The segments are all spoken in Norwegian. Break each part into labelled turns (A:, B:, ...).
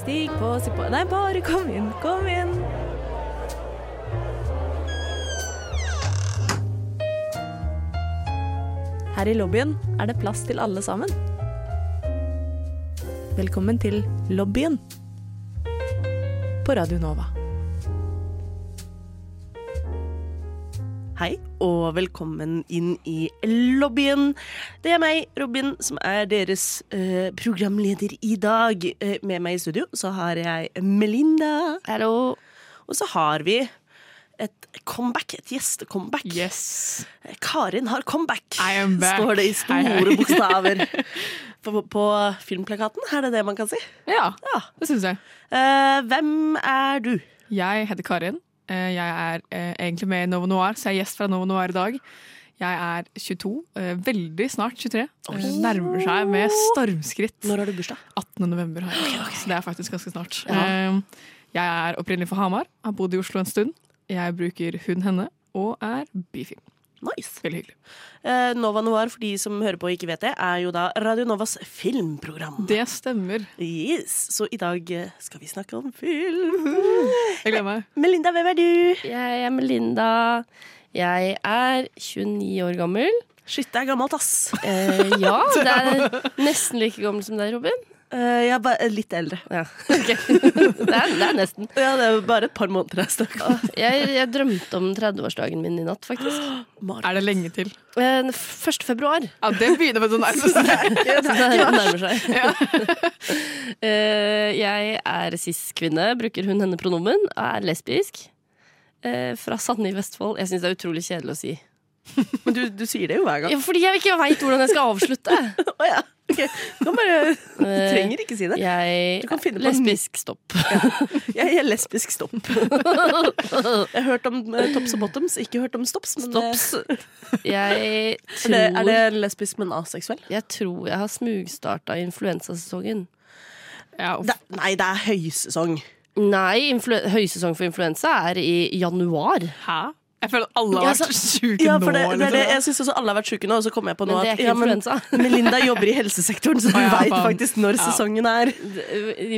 A: Stig på, stig på Nei, bare kom inn, kom inn. Her i lobbyen er det plass til alle sammen. Velkommen til lobbyen på Radio Nova.
B: Hei, og velkommen inn i lobbyen. Det er meg, Robin, som er deres eh, programleder i dag. Eh, med meg i studio så har jeg Melinda.
C: Hallo.
B: Og så har vi et comeback, et gjestecomeback.
C: Yes.
B: Karin har comeback,
C: I am back.
B: står det i
C: Hei,
B: store
C: hei.
B: bokstaver på, på filmplakaten. Er det det man kan si?
C: Ja,
B: Ja.
C: det syns jeg.
B: Eh, hvem er du?
C: Jeg heter Karin. Eh, Jeg er eh, egentlig med i Novo Noir, så jeg er gjest fra Novo Noir i dag. Jeg er 22, eh, veldig snart 23. Eh, Nærmer seg med stormskritt.
B: Når har du bursdag?
C: 18. november har jeg. Så det er faktisk ganske snart.
B: Ja.
C: Eh, Jeg er opprinnelig fra Hamar, har bodd i Oslo en stund. Jeg bruker hun, henne og er bifil.
B: Nice.
C: Veldig hyggelig.
B: Eh, Nova Noir, for de som hører på og ikke vet det, er jo da Radio Novas filmprogram.
C: Det stemmer.
B: Yes, Så i dag eh, skal vi snakke om film.
C: Jeg gleder meg.
B: Melinda, hvem er du?
D: Jeg er Melinda. Jeg er 29 år gammel.
B: Shit, det er gammelt, ass.
D: Eh, ja, det er nesten like gammel som deg, Robin.
B: Eh, jeg er bare eh, litt eldre.
D: Ja, ok. Det er, det er nesten.
B: Ja, det er bare et par måneder jeg snakker om.
D: Jeg, jeg drømte om 30-årsdagen min i natt, faktisk.
C: Er det lenge til?
D: Eh, 1. februar.
C: Ja, det begynner med sånn der.
D: Så det nærmer seg. Eh, jeg er cis-kvinne, bruker hun-henne-pronomen, er lesbisk. eh, Fra Sande i Vestfold. Jeg syns det er utrolig kjedelig å si.
B: Men du, du sier det jo hver gang.
D: Ja, fordi jeg ikke veit hvordan jeg skal avslutte.
B: Å ja. ok. Du kan bare, du
D: Eh,
B: trenger ikke si det.
D: Jeg
B: Du kan finne på en
D: Lesbisk, stopp.
B: Jeg er lesbisk stopp. Jeg har hørt om eh, tops og bottoms, ikke hørt om stops. Men eh,
D: Stops. Jeg
B: Er,
D: tror,
B: det, er det lesbisk, men aseksuell?
D: Jeg tror jeg har smugstarta influensasesongen.
C: Ja, uff.
B: Det, nei, det er høysesong.
D: Nei, influ høysesong for influensa er i januar.
C: Hæ? Jeg føler at alle
D: Ja,
C: har
D: altså-
C: vært sjuke
B: Ja,
C: nå.
B: for det, det, er det,
C: liksom.
B: jeg syns også alle har vært sjuke nå, og så kom jeg på nå
D: Men det er
B: at
D: ikke
B: ja, men,
D: influensa.
B: Melinda jobber i helsesektoren, så du
C: Å ja,
B: veit
C: faen.
B: faktisk når
C: Ja.
B: sesongen er.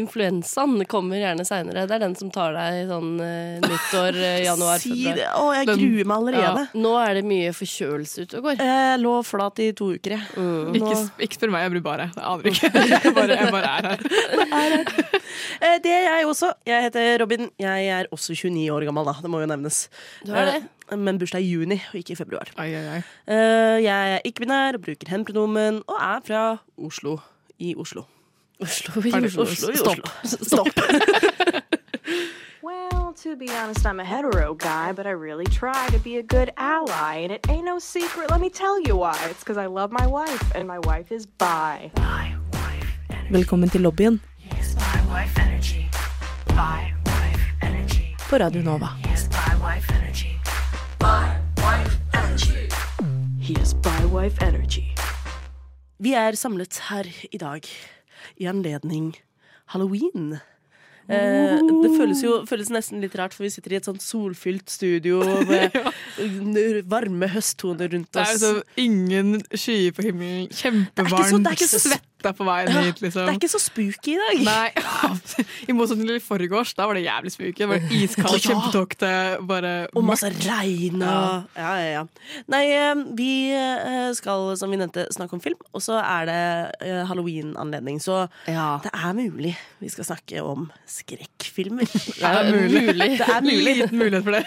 D: Influensaen kommer gjerne seinere. Det er den som tar deg sånn eh, nyttår, eh, januar,
B: Si
D: februar.
B: det. Å, jeg
C: Den-
B: gruer meg allerede.
D: Nå er det mye forkjølelse ute og går.
B: Jeg lå flat i to uker, jeg.
D: Mm.
C: Ikke, sp- ikke spør meg, jeg blir bare Jeg aner ikke. Jeg bare, jeg bare er her.
B: Eh, Det er jeg også. Jeg heter Robin. Jeg er også 29 år gammel, da. Det må jo nevnes.
D: Du er det.
B: Eh, Men bursdag i juni, og ikke i februar.
C: Ai, ai, ai.
B: Eh, jeg er ikke-binær og bruker hen-pronomen, og er fra Oslo. I Oslo.
D: Oslo i
C: Ferdig.
D: Oslo.
B: Oslo i
D: Stopp.
B: Oslo. Stopp.
E: Well, to be honest, I'm a hetero guy, but I really try to be a good ally, and it ain't no secret. Let me tell you why. It's because I love my wife, and my wife is bi.
A: Velkommen til lobbyen
F: Yes, by wife energy. By wife energy.
A: på Radio Nova.
F: Yes, by wife energy. By wife energy.
E: He is bi wife energy.
B: Vi er samlet her i dag i anledning halloween. Eh, det føles jo føles nesten litt rart, for vi sitter i et sånt solfylt studio med n- varme høsttoner rundt
C: Det er
B: oss.
C: liksom ingen skyer på himmelen,
B: Det er ikke så-
C: kjempevarmt,
B: det er ikke så-
C: svetta på veien hit,
B: Det er
C: liksom.
B: ikke så spooky i dag.
C: Nei, I motsetning til i forgårs, da var det jævlig spooky. Det var iskaldt,
B: Ja.
C: kjempetåkete, bare
B: Og masse regn og ja. ja, ja, Nei, eh, vi eh, skal, som vi nevnte, snakke om film, og så er det eh, halloween-anledning. Så
D: Ja.
B: det er mulig vi skal snakke om skrekkfilmer.
D: Det er mulig.
B: Det er mulig.
C: Liten mulighet for det.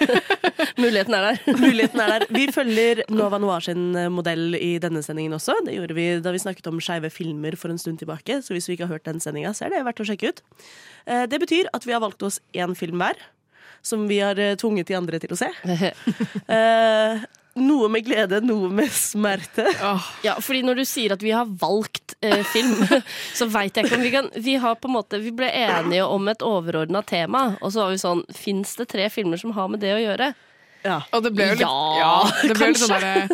D: Muligheten er der.
B: Muligheten er der. Vi følger Nova Noir sin eh, modell i denne sendingen også. Det gjorde vi da vi snakket om skeive filmer for en stund tilbake. Så hvis vi ikke har hørt den sendinga, så er det verdt å sjekke ut. Eh, Det betyr at vi har valgt oss én film hver, som vi har eh, tvunget de andre til å se. Eh, Noe med glede, noe med smerte.
C: Åh,
D: Ja, fordi når du sier at vi har valgt eh, film, så veit jeg ikke om vi kan Vi har på en måte, vi ble enige om et overordna tema, og så var vi sånn Fins det tre filmer som har med det å gjøre?
B: Ja.
C: Og det ble jo litt,
D: Ja,
C: det ble jo litt sånn derre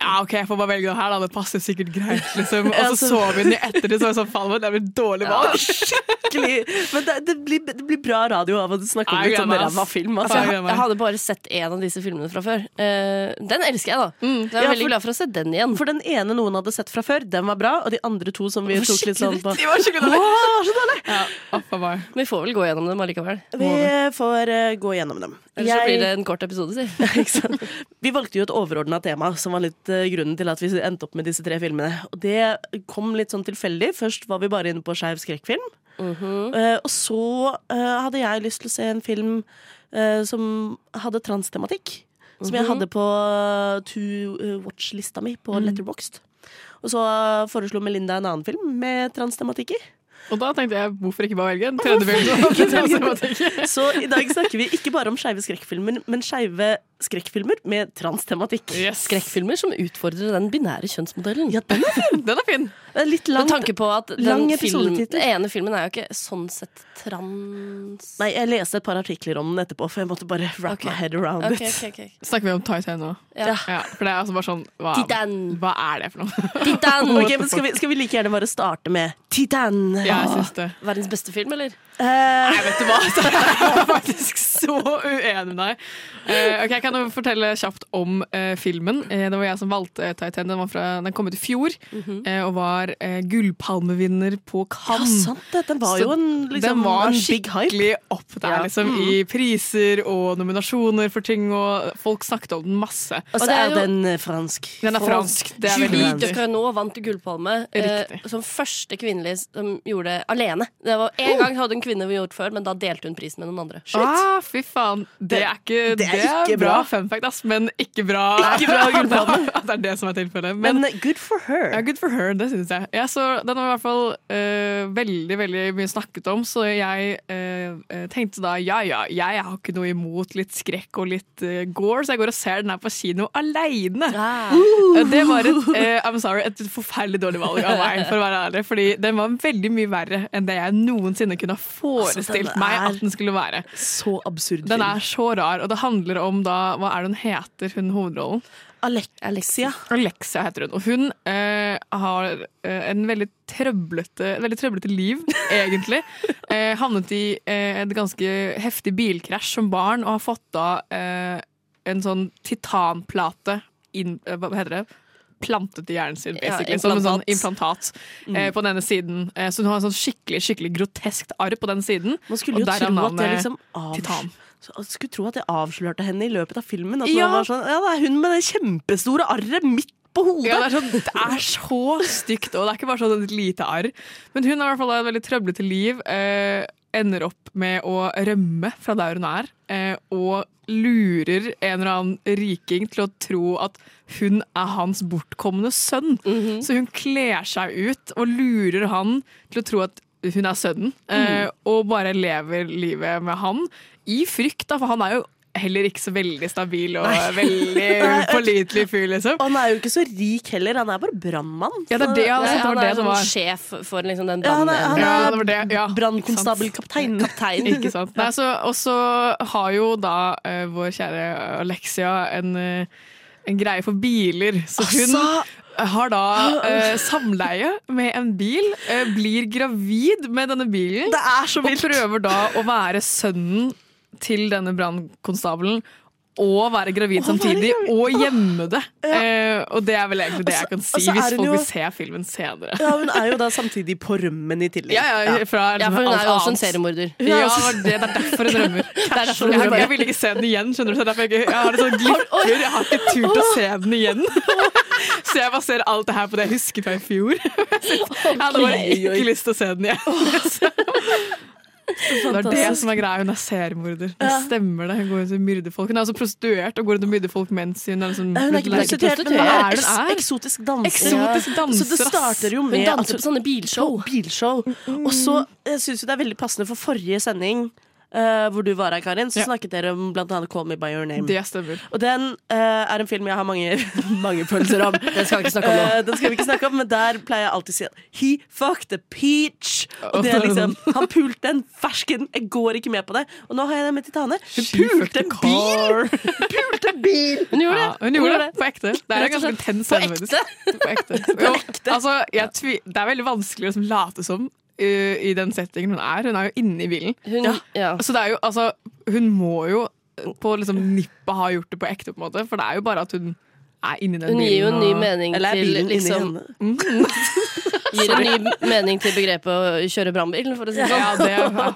C: Ja, OK, jeg får bare velge det her, da. Det passer sikkert greit, liksom. Og så så vi den i ettertid, så var jeg sånn Faen, det er et dårlig valg.
B: Skikkelig. Men det, det, blir, det blir bra radio av å snakke om
C: Jeg
B: litt
C: gleder
B: sånn
C: meg, ass.
B: ræva film.
C: Ja,
D: Altså,
B: Altså.
C: jeg
D: jeg,
C: gleder meg.
D: jeg hadde bare sett én av disse filmene fra før. Eh, den elsker jeg, da.
B: Mm,
D: Så jeg er
B: Ja,
D: veldig
B: for-
D: glad for å se den igjen.
B: For den ene noen hadde sett fra før, den var bra. Og de andre to som vi
D: Det var
B: tok litt sånn
D: skikkelig
B: på
C: De var skikkelig dårlige.
B: Åh, så dårlig!
C: Ja, opp av meg.
D: Men vi får vel gå gjennom dem allikevel.
B: Vi får eh, gå gjennom dem.
D: Ellers så blir det en kort episode, si.
B: Ikke sant? Vi valgte jo et overordna tema, som var litt eh, grunnen til at vi endte opp med disse tre filmene. Og det kom litt sånn tilfeldig. Først var vi bare inne på skeiv skrekkfilm. Eh, og så eh, hadde jeg lyst til å se en film eh, som hadde transtematikk. Som jeg hadde på to eh, watch-lista mi på Letterboxd. Og så eh, foreslo Melinda en annen film med transtematikk i.
C: Og da tenkte jeg, hvorfor ikke bare velge en tredje film?
B: Så i dag snakker vi ikke bare om skeive skrekkfilmer, men skeive skrekkfilmer med transtematikk.
C: Yes.
D: Skrekkfilmer som utfordrer den binære kjønnsmodellen.
B: Ja, den er
C: Den er fin.
B: Det er Litt
D: Med
B: langt.
D: tanke på at den,
B: lang
D: film,
B: episodetittel.
D: den ene filmen er jo ikke sånn sett trans...
B: Nei, jeg leste et par artikler om den etterpå, for jeg måtte bare wrap
D: Ok.
B: my head around
D: Ok,
B: it.
D: ok, ok.
C: Snakker vi om Titan nå?
D: Ja.
C: Ja, for det er altså bare sånn hva,
D: Titan.
C: hva er det for noe?
D: Titan!
B: Ok, men skal vi, skal vi like gjerne bare starte med Titan?
C: Ja, jeg syns det.
D: Verdens beste film, eller?
B: Eh,
C: Nei, vet du hva? Altså, Jeg er faktisk så uenig med deg. Eh, ok, Jeg kan jo fortelle kjapt om eh, filmen. Eh, det var jeg som valgte eh, Titan. Den, var fra, den kom ut i fjor eh, og var eh, gullpalmevinner på
B: Mhm. ja,
C: Cannes.
B: sant det. Den var
C: Så
B: jo en, liksom,
C: den var
B: en big hype.
C: skikkelig opp der,
B: Ja. Mhm.
C: liksom, i priser og nominasjoner for ting, og folk snakket om den masse.
B: Og så
D: det er
B: er
D: jo-
B: den eh, fransk.
C: Den er fransk. Det er veldig
D: Julie
C: vanlig.
D: Ducournau vant Gullpalme eh,
C: Riktig.
D: som første kvinnelige som gjorde det alene. Det var
C: Oh!
D: En gang hadde en kvinne gjort før, men da delte hun prisen med noen andre.
C: Ah, fy faen. Det er ikke, det er
B: ikke
C: bra.
B: bra.
C: fun fact, ass, men ikke bra.
B: Ikke bra gullpalme.
C: At det er det som er tilfellet. Men,
B: Men eh, good for
C: ja,
B: her.
C: good for her, det syns jeg. Ja, så den var i hvert fall eh, veldig veldig mye snakket om, så jeg eh, tenkte da ja ja, jeg har ikke noe imot litt skrekk og litt eh, gore, så jeg går og ser den her på kino aleine. Det var et, eh, I'm sorry, et forferdelig dårlig valg av meg, for å være ærlig. Fordi den var veldig mye verre enn det jeg noensinne kunne ha forestilt
B: den
C: meg
B: er-
C: at den skulle være.
B: Så absurd
C: Den
B: film.
C: er så rar, og det handler om da Hva er det hun heter, hun hovedrollen?
B: Alexia.
C: Alexia heter hun. Og hun eh, har eh, en veldig trøblete, et veldig trøblete liv, egentlig. Eh, havnet i eh, et ganske heftig bilkrasj som barn, og har fått da eh, en sånn titanplate inn, eh, Hva heter det? Plantet i hjernen sin,
D: Ja,
C: basically. som en sånn implantat
D: implantat.
B: Mm.
C: eh, på denne siden. Eh, så hun har en sånn skikkelig skikkelig groteskt arr på den siden.
B: Man skulle
C: og
B: jo
C: der er
B: tro at det
C: navnet
B: liksom avs-
C: Titan.
B: Så- altså, Skulle tro at det avslørte henne i løpet av filmen. At
C: Ja.
B: man var sånn, ja, det er hun med det kjempestore arret midt på hodet.
C: Ja, det, er sånn, det er så stygt, og det er ikke bare sånn et lite arr. Men hun har i hvert fall et veldig trøblete liv. Eh, ender opp med å rømme fra der hun er, eh, og lurer en eller annen riking til å tro at hun er hans bortkomne sønn. Så hun kler seg ut og lurer han til å tro at hun er sønnen, eh, og bare lever livet med han i frykt, da, for han er jo heller ikke så veldig stabil og veldig pålitelig fyr, liksom.
B: Og han er jo ikke så rik heller, han er bare brannmann.
C: Ja, det er det, ja.
D: Nei,
C: det
D: han
C: var det
D: er
C: det
D: sånn
C: var.
D: sjef for liksom, den
B: Ja, han er-
D: brannen.
B: han er-
C: Ja, det var det. Ja.
B: Brannkonstabelkaptein.
D: kaptein.
C: Ikke sant. Nei, så, og så har jo da eh, vår kjære Alexia en, eh, en greie for biler. Så
B: Ah,
C: hun har da eh, samleie med en bil, eh, blir gravid med denne bilen.
B: Det er så
C: Og prøver da å være sønnen til denne brannkonstabelen. Og være gravid samtidig, og gjemme det. Eh, og det er vel egentlig det jeg kan si,
B: og så
C: hvis
B: er hun
C: folk
B: jo-
C: vil se filmen senere.
B: Ja, hun er jo da samtidig på rømmen i tillegg.
C: Ja, ja, fra
D: Ja, for hun
C: alt
D: er jo også en
C: annet.
D: seriemorder.
C: Ja, det var det, det er derfor jeg drømmer.
D: Det er derfor hun
C: Jeg,
D: er
C: jeg
D: det.
C: vil ikke se den igjen, skjønner du. Så det er derfor jeg, ikke- jeg har det sånn glipper. Jeg har ikke turt å se den igjen. Så jeg baserer alt det her på det jeg husker fra i fjor. Jeg hadde bare ikke lyst til å se den igjen. Det er det som er greia. Hun er seriemorder. Det stemmer det. Hun går rundt og myrder folk. Hun er også prostituert og går rundt og myrder folk mens hun er liksom
B: Nei, Hun er ikke
C: Hun
B: prostituert, men hun
C: Hva
B: er
C: er det hun er?
B: eksotisk danser.
C: Eksotisk altså- danser,
B: Så det
C: ass.
B: starter jo
D: Hun
B: med
D: danser
B: at-
D: på sånne bilshow.
C: Mm.
B: eh, bilshow. Og så syns jeg synes jo det er veldig passende for forrige sending. eh, hvor du var her, Karin, så
C: Ja.
B: snakket dere om blant annet Call Me By Your Name.
C: Det stemmer.
B: Og den eh, er en film jeg har mange, mange følelser om.
D: Det skal vi ikke snakke om nå.
B: Eh, den skal vi ikke snakke om, men der pleier jeg alltid å si at He fucked a peach! Og det er liksom, Han pulte en fersken! Jeg går ikke med på det. Og nå har jeg det med Titane. Hun pulte en bil! Pulte en bil!
D: Hun gjorde det.
C: Ja, hun gjorde det på ekte. Det er en
D: Rett og
C: ganske
D: slett.
C: intens
D: På
C: scene. faktisk. På ekte. Jo, altså, jeg tvi det er veldig vanskelig å liksom late som uh, i den settingen hun er. Hun er jo inne i bilen.
D: Hun, ja.
C: Så det er jo, altså, hun må jo på liksom nippet ha gjort det på ekte, på en måte. For det er jo bare at hun er inni den
D: hun
C: bilen.
D: gir jo en ny
C: og-
D: mening
B: Eller er
D: til
B: bilen
D: liksom,
B: inni henne?
D: Gir en ny mening til begrepet å kjøre brannbil, for å si det sånn.
C: Ja, det er, ja.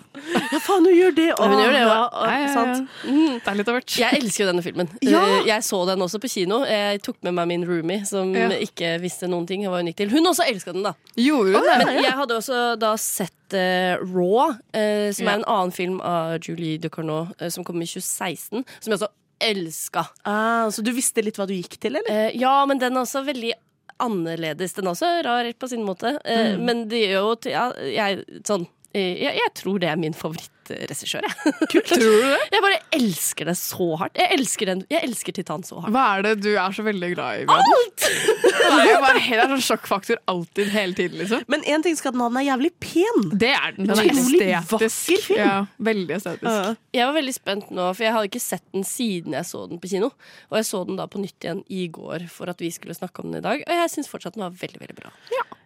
B: Ja, faen, hun gjør det!
D: hun gjør det, ja. Mm.
B: og-
C: Ja, ja, ja.
B: sant?
C: Det er litt av hvert.
D: Jeg elsker jo denne filmen. Eh, Jeg så den også på kino. Jeg tok med meg min roomie, som
C: Ja.
D: ikke visste noen ting. Hun var unik til. Hun også elska den, da.
C: Gjorde hun det?
D: Men jeg hadde også da sett eh, Raw, eh, som
C: Ja.
D: er en annen film av Julie Ducournau eh, som kom i 2016, som jeg også elska.
B: Ah, så du visste litt hva du gikk til, eller?
D: Eh, ja, men den er også veldig annerledes. Den er også rar på sin måte. Eh,
C: Mm.
D: Men det gjør jo til ja, jeg, sånn, eh, jeg, jeg tror det er min favorittregissør, jeg.
C: Tror du det?
D: Jeg bare elsker det så hardt. Jeg elsker, den, jeg elsker Titan så hardt.
C: Hva er det du er så veldig glad i? Alt! Det er jo bare helt, det er sånn sjokkfaktor alltid, hele tiden, liksom.
B: Men én ting skal den ha, den er jævlig pen!
C: Det er den. Den er
B: Utrolig vakker
C: estetisk.
B: film.
C: Ja, veldig estetisk.
D: Jeg var veldig spent nå, for jeg har ikke sett den siden jeg så den på kino. Og jeg så den da på nytt igjen i går for at vi skulle snakke om den i dag. Og jeg syns fortsatt den var veldig, veldig bra.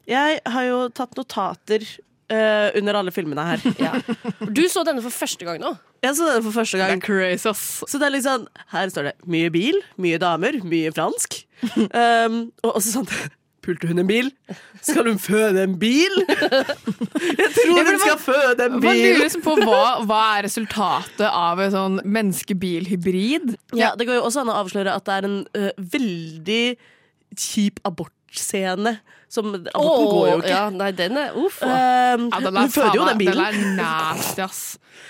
B: Jeg har jo tatt notater eh, under alle filmene her.
D: Ja. Du så denne for første gang nå.
B: Jeg så den for første
C: Det
B: gang.
C: er crazy, ass.
B: Så det er liksom, her står det mye bil, mye damer, mye fransk. Um, og også sånn Pulte hun en bil? Skal hun føde en bil? Jeg tror hun skal føde en
C: Man
B: bil!
C: lurer liksom på hva, hva er resultatet av en sånn menneske-bil-hybrid.
B: Ja, det går jo også an å avsløre at det er en ø, veldig kjip abortscene. Som Aborten går jo
D: Åh,
B: ikke.
D: Ja, nei, den er uff.
B: Um,
C: Ja, den er
B: hun føder jo
C: faen meg-
B: den bilen.
C: Den er nasty, ass.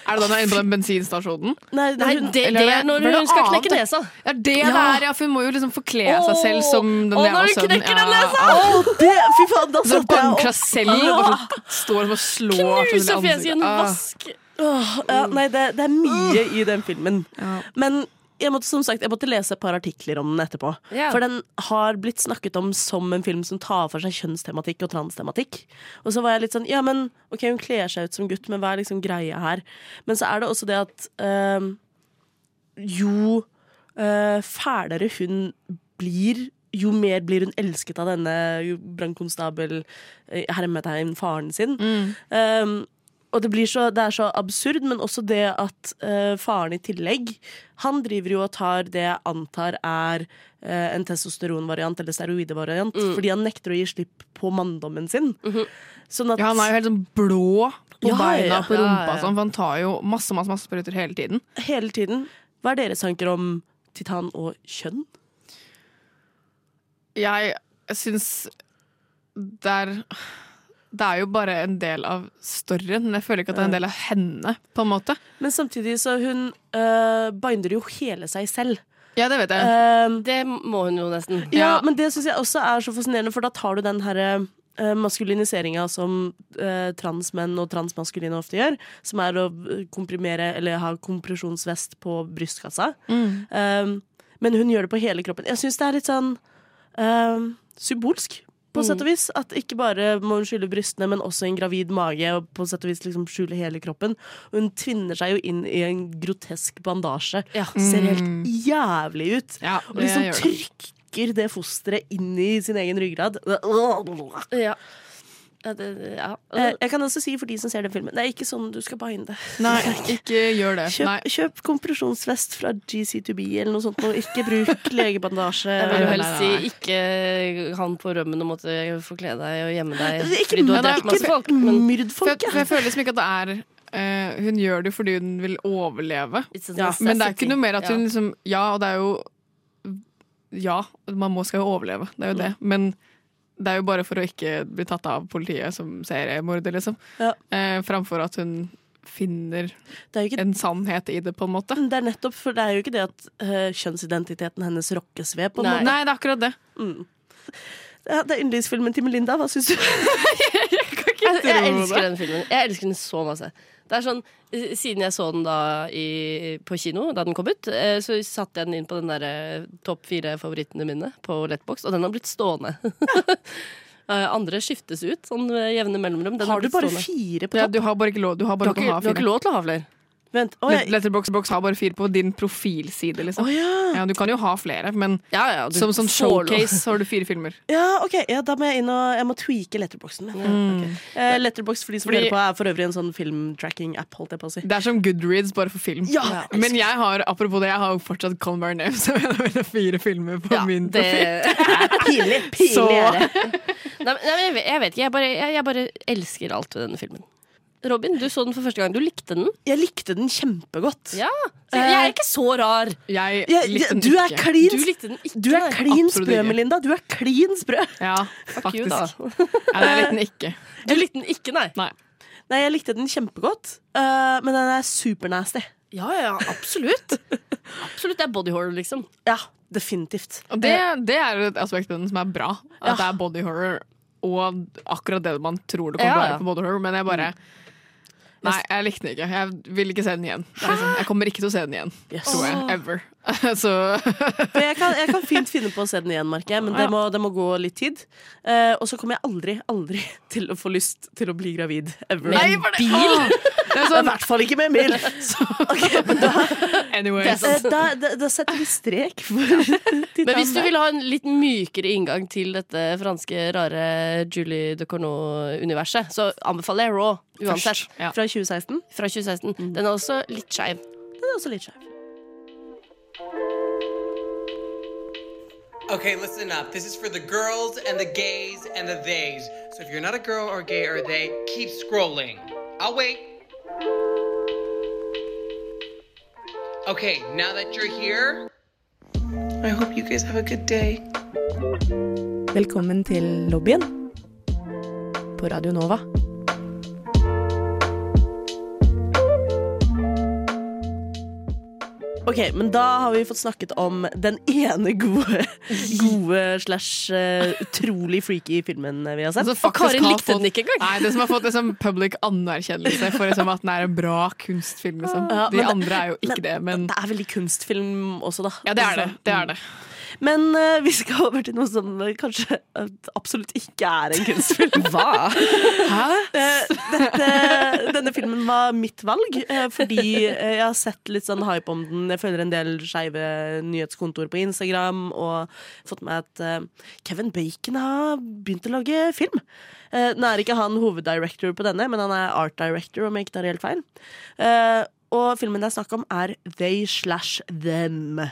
C: Er det da hun er inne på den bensinstasjonen?
B: Nei, det
D: Nei,
B: er hun,
D: det,
C: eller
D: det
C: det-
D: er når
C: var det
D: hun skal
C: annet?
D: knekke nesa.
C: Ja, det ja.
D: Ja.
C: der, ja, for hun må jo liksom forkle seg
D: Åh,
C: selv som den
D: åh,
C: jævla
D: når hun
C: sønnen.
D: knekker den nesa!
C: Ja, ja.
B: Åh, det, fy faen, da
C: Så
B: satt jeg opp.
C: banker seg selv og bare står og slår
D: Knuse
C: sånn i
D: fjeset i en
C: Ah.
D: vask.
B: Åh, ja, nei, det, det er mye i den filmen.
C: Ja.
B: Men jeg måtte, som sagt, jeg måtte lese et par artikler om den etterpå.
D: Ja.
B: For den har blitt snakket om som en film som tar for seg kjønnstematikk og transtematikk. Og så var jeg litt sånn Ja, men ok, hun kler seg ut som gutt, men hva er liksom greia her? Men så er det også det at øhm, jo øh, fælere hun blir jo mer blir hun elsket av denne jo brannkonstabel, eh, hermetegn, faren sin.
C: Mm.
B: Øhm, og det, blir så, det er så absurd, men også det at eh, faren i tillegg Han driver jo og tar det jeg antar er eh, en testosteronvariant eller steroidevariant,
C: Mm.
B: fordi han nekter å gi slipp på manndommen sin. Sånn at
C: Mhm. Ja, han er jo helt sånn blå på
B: Ja,
C: beina,
B: ja,
C: på
D: ja,
C: rumpa
D: ja.
C: og sånn, for han tar jo masse, masse, masse sprøyter hele tiden.
B: hele tiden Hva er deres tanker om titan og kjønn?
C: Jeg syns det er Det er jo bare en del av storyen, men jeg føler ikke at det er en del av henne, på en måte.
B: Men samtidig så hun øh, binder jo hele seg selv.
C: Ja, det vet jeg.
B: Ehm,
D: Det må hun jo nesten.
B: Ja,
C: Ja.
B: men det syns jeg også er så fascinerende, for da tar du den herre eh, Maskuliniseringa som eh, transmenn og transmaskuline ofte gjør, som er å eh, komprimere eller ha kompresjonsvest på brystkassa. Um, men hun gjør det på hele kroppen. Jeg syns det er litt sånn um, symbolsk, på sett og vis. At ikke bare må hun skjule brystene, men også en gravid mage, og på sett og vis liksom skjule hele kroppen. Og hun tvinner seg jo inn i en grotesk bandasje.
D: Ja.
B: Ser helt jævlig ut.
C: Ja,
B: og
C: det
B: liksom
C: gjør det.
B: trykker det fosteret inn i sin egen ryggrad.
D: Ja. Ja, det, ja.
B: Eh, Jeg kan også si for de som ser den filmen, det er ikke sånn du skal binde.
C: Nei, ikke gjør det. Nei.
B: Kjøp, kjøp kompresjonsvest fra GC2B eller noe sånt, og ikke bruk legebandasje.
D: Jeg vil jo
C: Nei,
D: helst si
C: nei, nei.
D: ikke han på rømmen og måtte forkle deg og gjemme deg
C: Altså,
B: Ikke,
D: fordi du har
C: nei,
D: drept masse folk.
B: ikke
D: Men
B: myrd
C: For
B: folk,
C: jeg, for jeg føler liksom ikke at det er eh, Hun gjør det jo fordi hun vil overleve.
D: It's a
B: Ja,
D: necessity.
C: Men det er ikke noe mer at hun
D: Ja.
C: liksom Ja, og det er jo Ja, man må skal jo overleve. Det er jo det.
B: Mm.
C: Men det er jo bare for å ikke bli tatt av politiet som seriemorder, liksom.
B: Ja.
C: Eh, framfor at hun finner
B: Det er jo ikke
C: en sannhet i det, på en måte.
D: Mm.
B: det er nettopp, for det er jo ikke det at eh, kjønnsidentiteten hennes rokkes ved. på en
D: Nei.
B: måte.
C: Nei, det er akkurat det.
B: Ja, Det er yndlingsfilmen til Melinda. Hva syns du?
C: Jeg kan ikke
D: Jeg, jeg
C: Gutterommet.
D: elsker den filmen. Jeg elsker den så masse. Det er sånn, eh, Siden jeg så den da i, på kino, da den kom ut, eh, så satte jeg den inn på den der eh, topp fire-favorittene mine på Letbox, og den har blitt stående. Eh, Andre skiftes ut sånn med jevne mellomrom. Den
B: Har du
D: blitt
B: bare
D: stående.
B: fire på
C: Ja,
B: topp?
C: du har bare ikke lov, du har
D: Du
C: bare lov
D: har, ikke,
C: til å ha
D: du har ikke
C: fire.
D: lov til å ha flere.
B: Vent, å,
C: Let-
B: jeg,
C: Letterboxbox har bare fire på din profilside, liksom.
B: å ja.
C: Ja, du kan jo ha flere, men
D: Ja, ja, du
C: som sånn
D: får lov.
C: showcase har du fire filmer.
B: ja, ok, ja, da må jeg inn og jeg må tweake letterboxen. min. Ok. Eh, Letterbox for de som
D: Fordi-
B: hører på, er for øvrig en sånn filmtracking-app, holdt jeg på å si.
C: Det er som Goodreads, bare for film.
B: Ja.
C: Men jeg har apropos det, jeg har jo fortsatt Call My Name, så jeg har vel fire filmer på
D: Ja,
C: min
D: det,
C: profil.
B: Pinlig!
C: Så-
B: Pinlig er det.
D: nei, men- nei, men jeg, vet- jeg vet ikke. Jeg bare, jeg, jeg bare elsker alt ved denne filmen. Robin, du så den for første gang. Du likte den.
B: Jeg likte den kjempegodt.
D: Ja, Eh, så Jeg er ikke så rar.
C: Jeg
B: Jeg-
C: likte den
B: du er
C: ikke.
B: klin
D: Du likte den ikke.
B: Du er
D: nei.
B: klin
C: Absolutt
B: sprø,
C: ikke.
B: Melinda. Du er klin sprø.
C: Ja,
D: Fuck you,
C: faktisk.
D: da.
C: Nei, jeg likte den ikke.
D: Du likte den ikke, nei.
C: Nei.
B: Nei, jeg likte den kjempegodt, eh, men den er supernasty.
D: Ja, ja, ja, absolutt. absolutt, det er body horror, liksom.
B: Ja, definitivt.
C: Og det,
B: Eh.
C: det er et aspekt ved den som er bra. At det er body horror og akkurat det man tror det kommer
D: Ja,
C: til å
D: ja.
C: være på body horror, men jeg
B: Mm.
C: bare Nei, jeg likte den ikke. Jeg vil ikke se den igjen. Det er Liksom, jeg kommer ikke til å se den igjen,
B: Yes.
C: tror jeg. Ever. Så
B: For jeg, kan, jeg kan fint finne på å se den igjen, merker jeg, men det må, det må gå litt tid. Eh, og så kommer jeg aldri, aldri til å få lyst til å bli gravid. Ever.
C: Nei, for det- Åh! Det
B: I
C: er sånn,
B: hvert fall ikke med Emil! Så, ok, men da,
C: anyways.
B: eh, da, da, da setter vi strek for
D: Men hvis du vil ha en litt mykere inngang til dette franske, rare Julie de Corneau-universet, så anbefaler jeg Raw, uansett.
C: Ja. Mm.
B: Fra 2016.
D: Fra 2016. Den er også litt skeiv.
B: Den er også litt skjev.
G: Okay, listen up. This is for the girls and the gays and the theys. So if you're not a girl or gay or they, keep scrolling. I'll wait. Okay, now that you're here, I hope you guys have a good day.
A: Velkommen til lobbyen på Radio Nova.
B: Ok, men da har vi fått snakket om den ene gode, gode slash eh, utrolig freaky filmen vi har sett.
C: Altså, faktisk
D: Karin
C: har
D: likte den ikke engang.
C: Nei, det som har fått liksom, public anerkjennelse for liksom, at den er en bra kunstfilm. Liksom.
B: Ja,
C: De
B: men det-
C: andre er jo ikke det, men
B: Det er veldig kunstfilm også, da.
C: Ja, det er det. det, er det.
B: Men eh, vi skal over til noe som eh, kanskje eh, absolutt ikke er en kunstfilm. Hva? Dette, eh, denne filmen var mitt valg, eh, fordi eh, jeg har sett litt sånn hype om den. Jeg følger en del skeive nyhetskontor på Instagram og fått med at eh, Kevin Bacon har begynt å lage film. Eh, Nå er ikke han hoveddirector på denne, men han er art director, om jeg ikke tar helt feil. Eh, Og filmen det er snakk om, er They slash Them.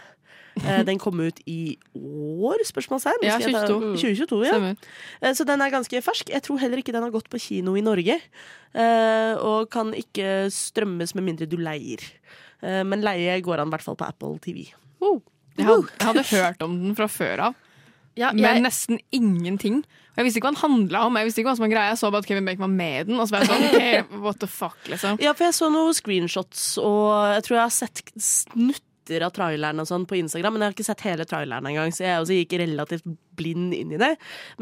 B: Eh, Den kom ut i år, spørsmålstegn?
C: Ja,
B: Skal jeg ta-
C: 2022.
B: 2022 ja.
C: Stemmer.
B: Eh, Så den er ganske fersk. Jeg tror heller ikke den har gått på kino i Norge. eh, Og kan ikke strømmes med mindre du leier. Eh, Men leie går an i hvert fall på Apple TV.
C: Jeg, hadde, jeg hadde hørt om den fra før av,
D: Ja,
C: men
D: jeg,
C: nesten ingenting. Og Jeg visste ikke hva den handla om. Jeg visste ikke hva som var greia Jeg så bare at Kevin Bacon var med i den, og så var jeg sånn ok, what the fuck, liksom.
B: Ja, for jeg så noen screenshots, og jeg tror jeg har sett snutter av traileren og sånn på Instagram, men jeg har ikke sett hele traileren engang, så jeg også gikk relativt blind inn i det.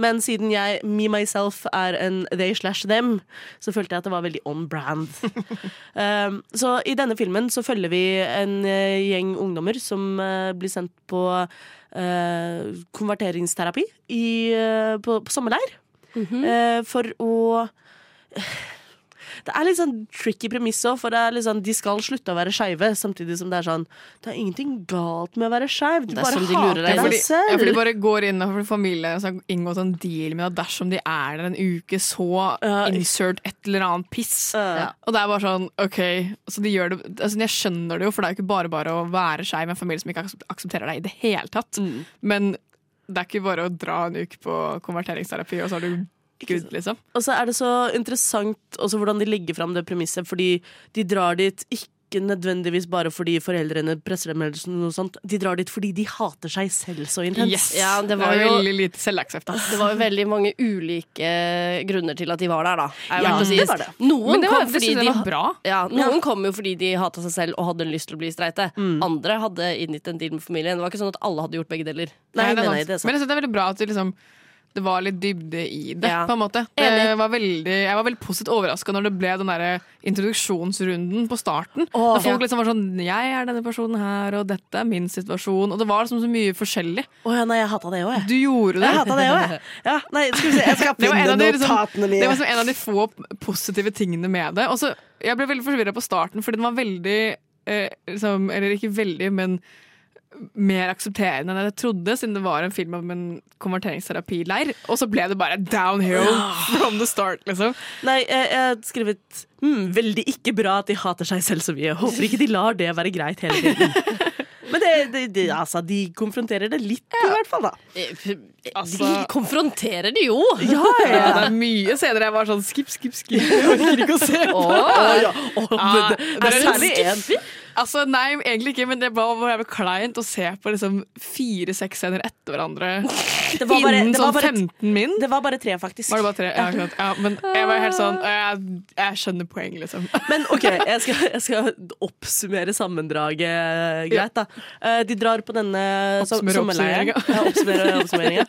B: Men siden jeg, me myself, er en they slash them, så følte jeg at det var veldig on brand. Um, så i denne filmen så følger vi en eh, gjeng ungdommer som eh, blir sendt på eh, konverteringsterapi i, eh, på, på sommerleir.
C: Mm.
B: eh, for å det er litt sånn tricky premiss òg, for det er litt sånn, de skal slutte å være skeive. Samtidig som det er sånn Det er ingenting galt med å være skeiv, du
D: Det er
B: bare
D: sånn de
B: hater
D: lurer
B: deg,
D: deg.
C: Fordi, ja,
B: selv.
C: for de bare går inn og for familien har inngått en deal med at dersom de er der en uke, så
B: Ja.
C: insert et eller annet piss.
B: Ja.
C: Og det er bare sånn, ok altså de gjør det, altså Jeg skjønner det jo, for det er jo ikke bare bare å være skeiv med en familie som ikke aksep- aksepterer deg i det hele tatt. Men det er ikke bare å dra en uke på konverteringsterapi, og så er du good, liksom.
B: Og så er det så interessant også hvordan de legger fram det premisset, fordi de drar dit ikke nødvendigvis bare fordi foreldrene presser dem, eller noe sånt. De drar dit fordi de hater seg selv så intenst.
C: Yes!
D: Ja, det
C: det,
D: var
C: er
D: jo-
C: veldig lite selvaksept. ass.
D: det var jo veldig mange ulike grunner til at de var der, da.
B: Ja,
D: Er verdt å si.
B: det var det.
D: Noen
C: Men det, var,
D: kom
C: det
D: fordi
C: synes
D: de
C: jeg var bra.
D: Ja, Noen kom jo fordi de hata seg selv og hadde lyst til å bli streite.
C: Mm.
D: Andre hadde inngitt en deal med familien. Det var ikke sånn at alle hadde gjort begge deler.
B: Nei,
C: Nei, det er
B: nei, nei,
C: sant.
B: det er sant.
C: Men jeg synes det er veldig bra at de liksom det var litt dybde i det,
B: Ja.
C: på en måte. Det
B: Enig.
C: var veldig, jeg var veldig positivt overraska når det ble den der introduksjonsrunden på starten.
B: Åh.
C: når folk liksom var sånn Jeg er denne personen her, og dette er min situasjon. Og det var liksom så mye forskjellig.
B: Å ja, nei, jeg hata det òg, jeg.
C: Du gjorde det.
B: Jeg hata det òg, jeg. Ja, nei, skal vi se, jeg skal
C: Det var, en
B: finne
C: av de, liksom,
B: notatene
C: det var
B: mine.
C: liksom en av de få p- positive tingene med det. Og så- jeg ble veldig forvirra på starten, fordi den var veldig eh, liksom, Eller ikke veldig, men mer aksepterende enn jeg trodde, siden det var en film om en konverteringsterapileir. Og så ble det bare downhill
B: Ah.
C: from the start, liksom.
B: Nei, jeg, jeg har skrevet hmm, veldig ikke bra at de hater seg selv så mye. Håper ikke de lar det være greit hele tiden. Men det, det, det, altså, de konfronterer det litt, i hvert fall. da
D: Eh, p- eh,
C: Altså-
D: De konfronterer det jo!
C: Ja, det er mye scener jeg var sånn skip, skip, skip. Jeg orker ikke å se på.
B: Å, ja. Å,
C: Ja,
B: men det, det er
C: dere
B: særlig en
C: Altså, nei, egentlig ikke, men det var var jævlig kleint å se på liksom fire-seks scener etter hverandre
B: Det var bare-
C: innen
B: det var
C: sånn
B: bare-
C: 15 min.
B: Det var bare tre, faktisk.
C: Var det bare tre? Ja, akkurat. Ja, men jeg var helt sånn Jeg, jeg skjønner poenget, liksom.
B: Men ok, jeg skal, jeg skal oppsummere sammendraget greit, da. Eh, De drar på denne som-
C: Oppsummere
B: sommerleiren.
C: oppsummeringen.
B: Ja, oppsummere oppsummeringen.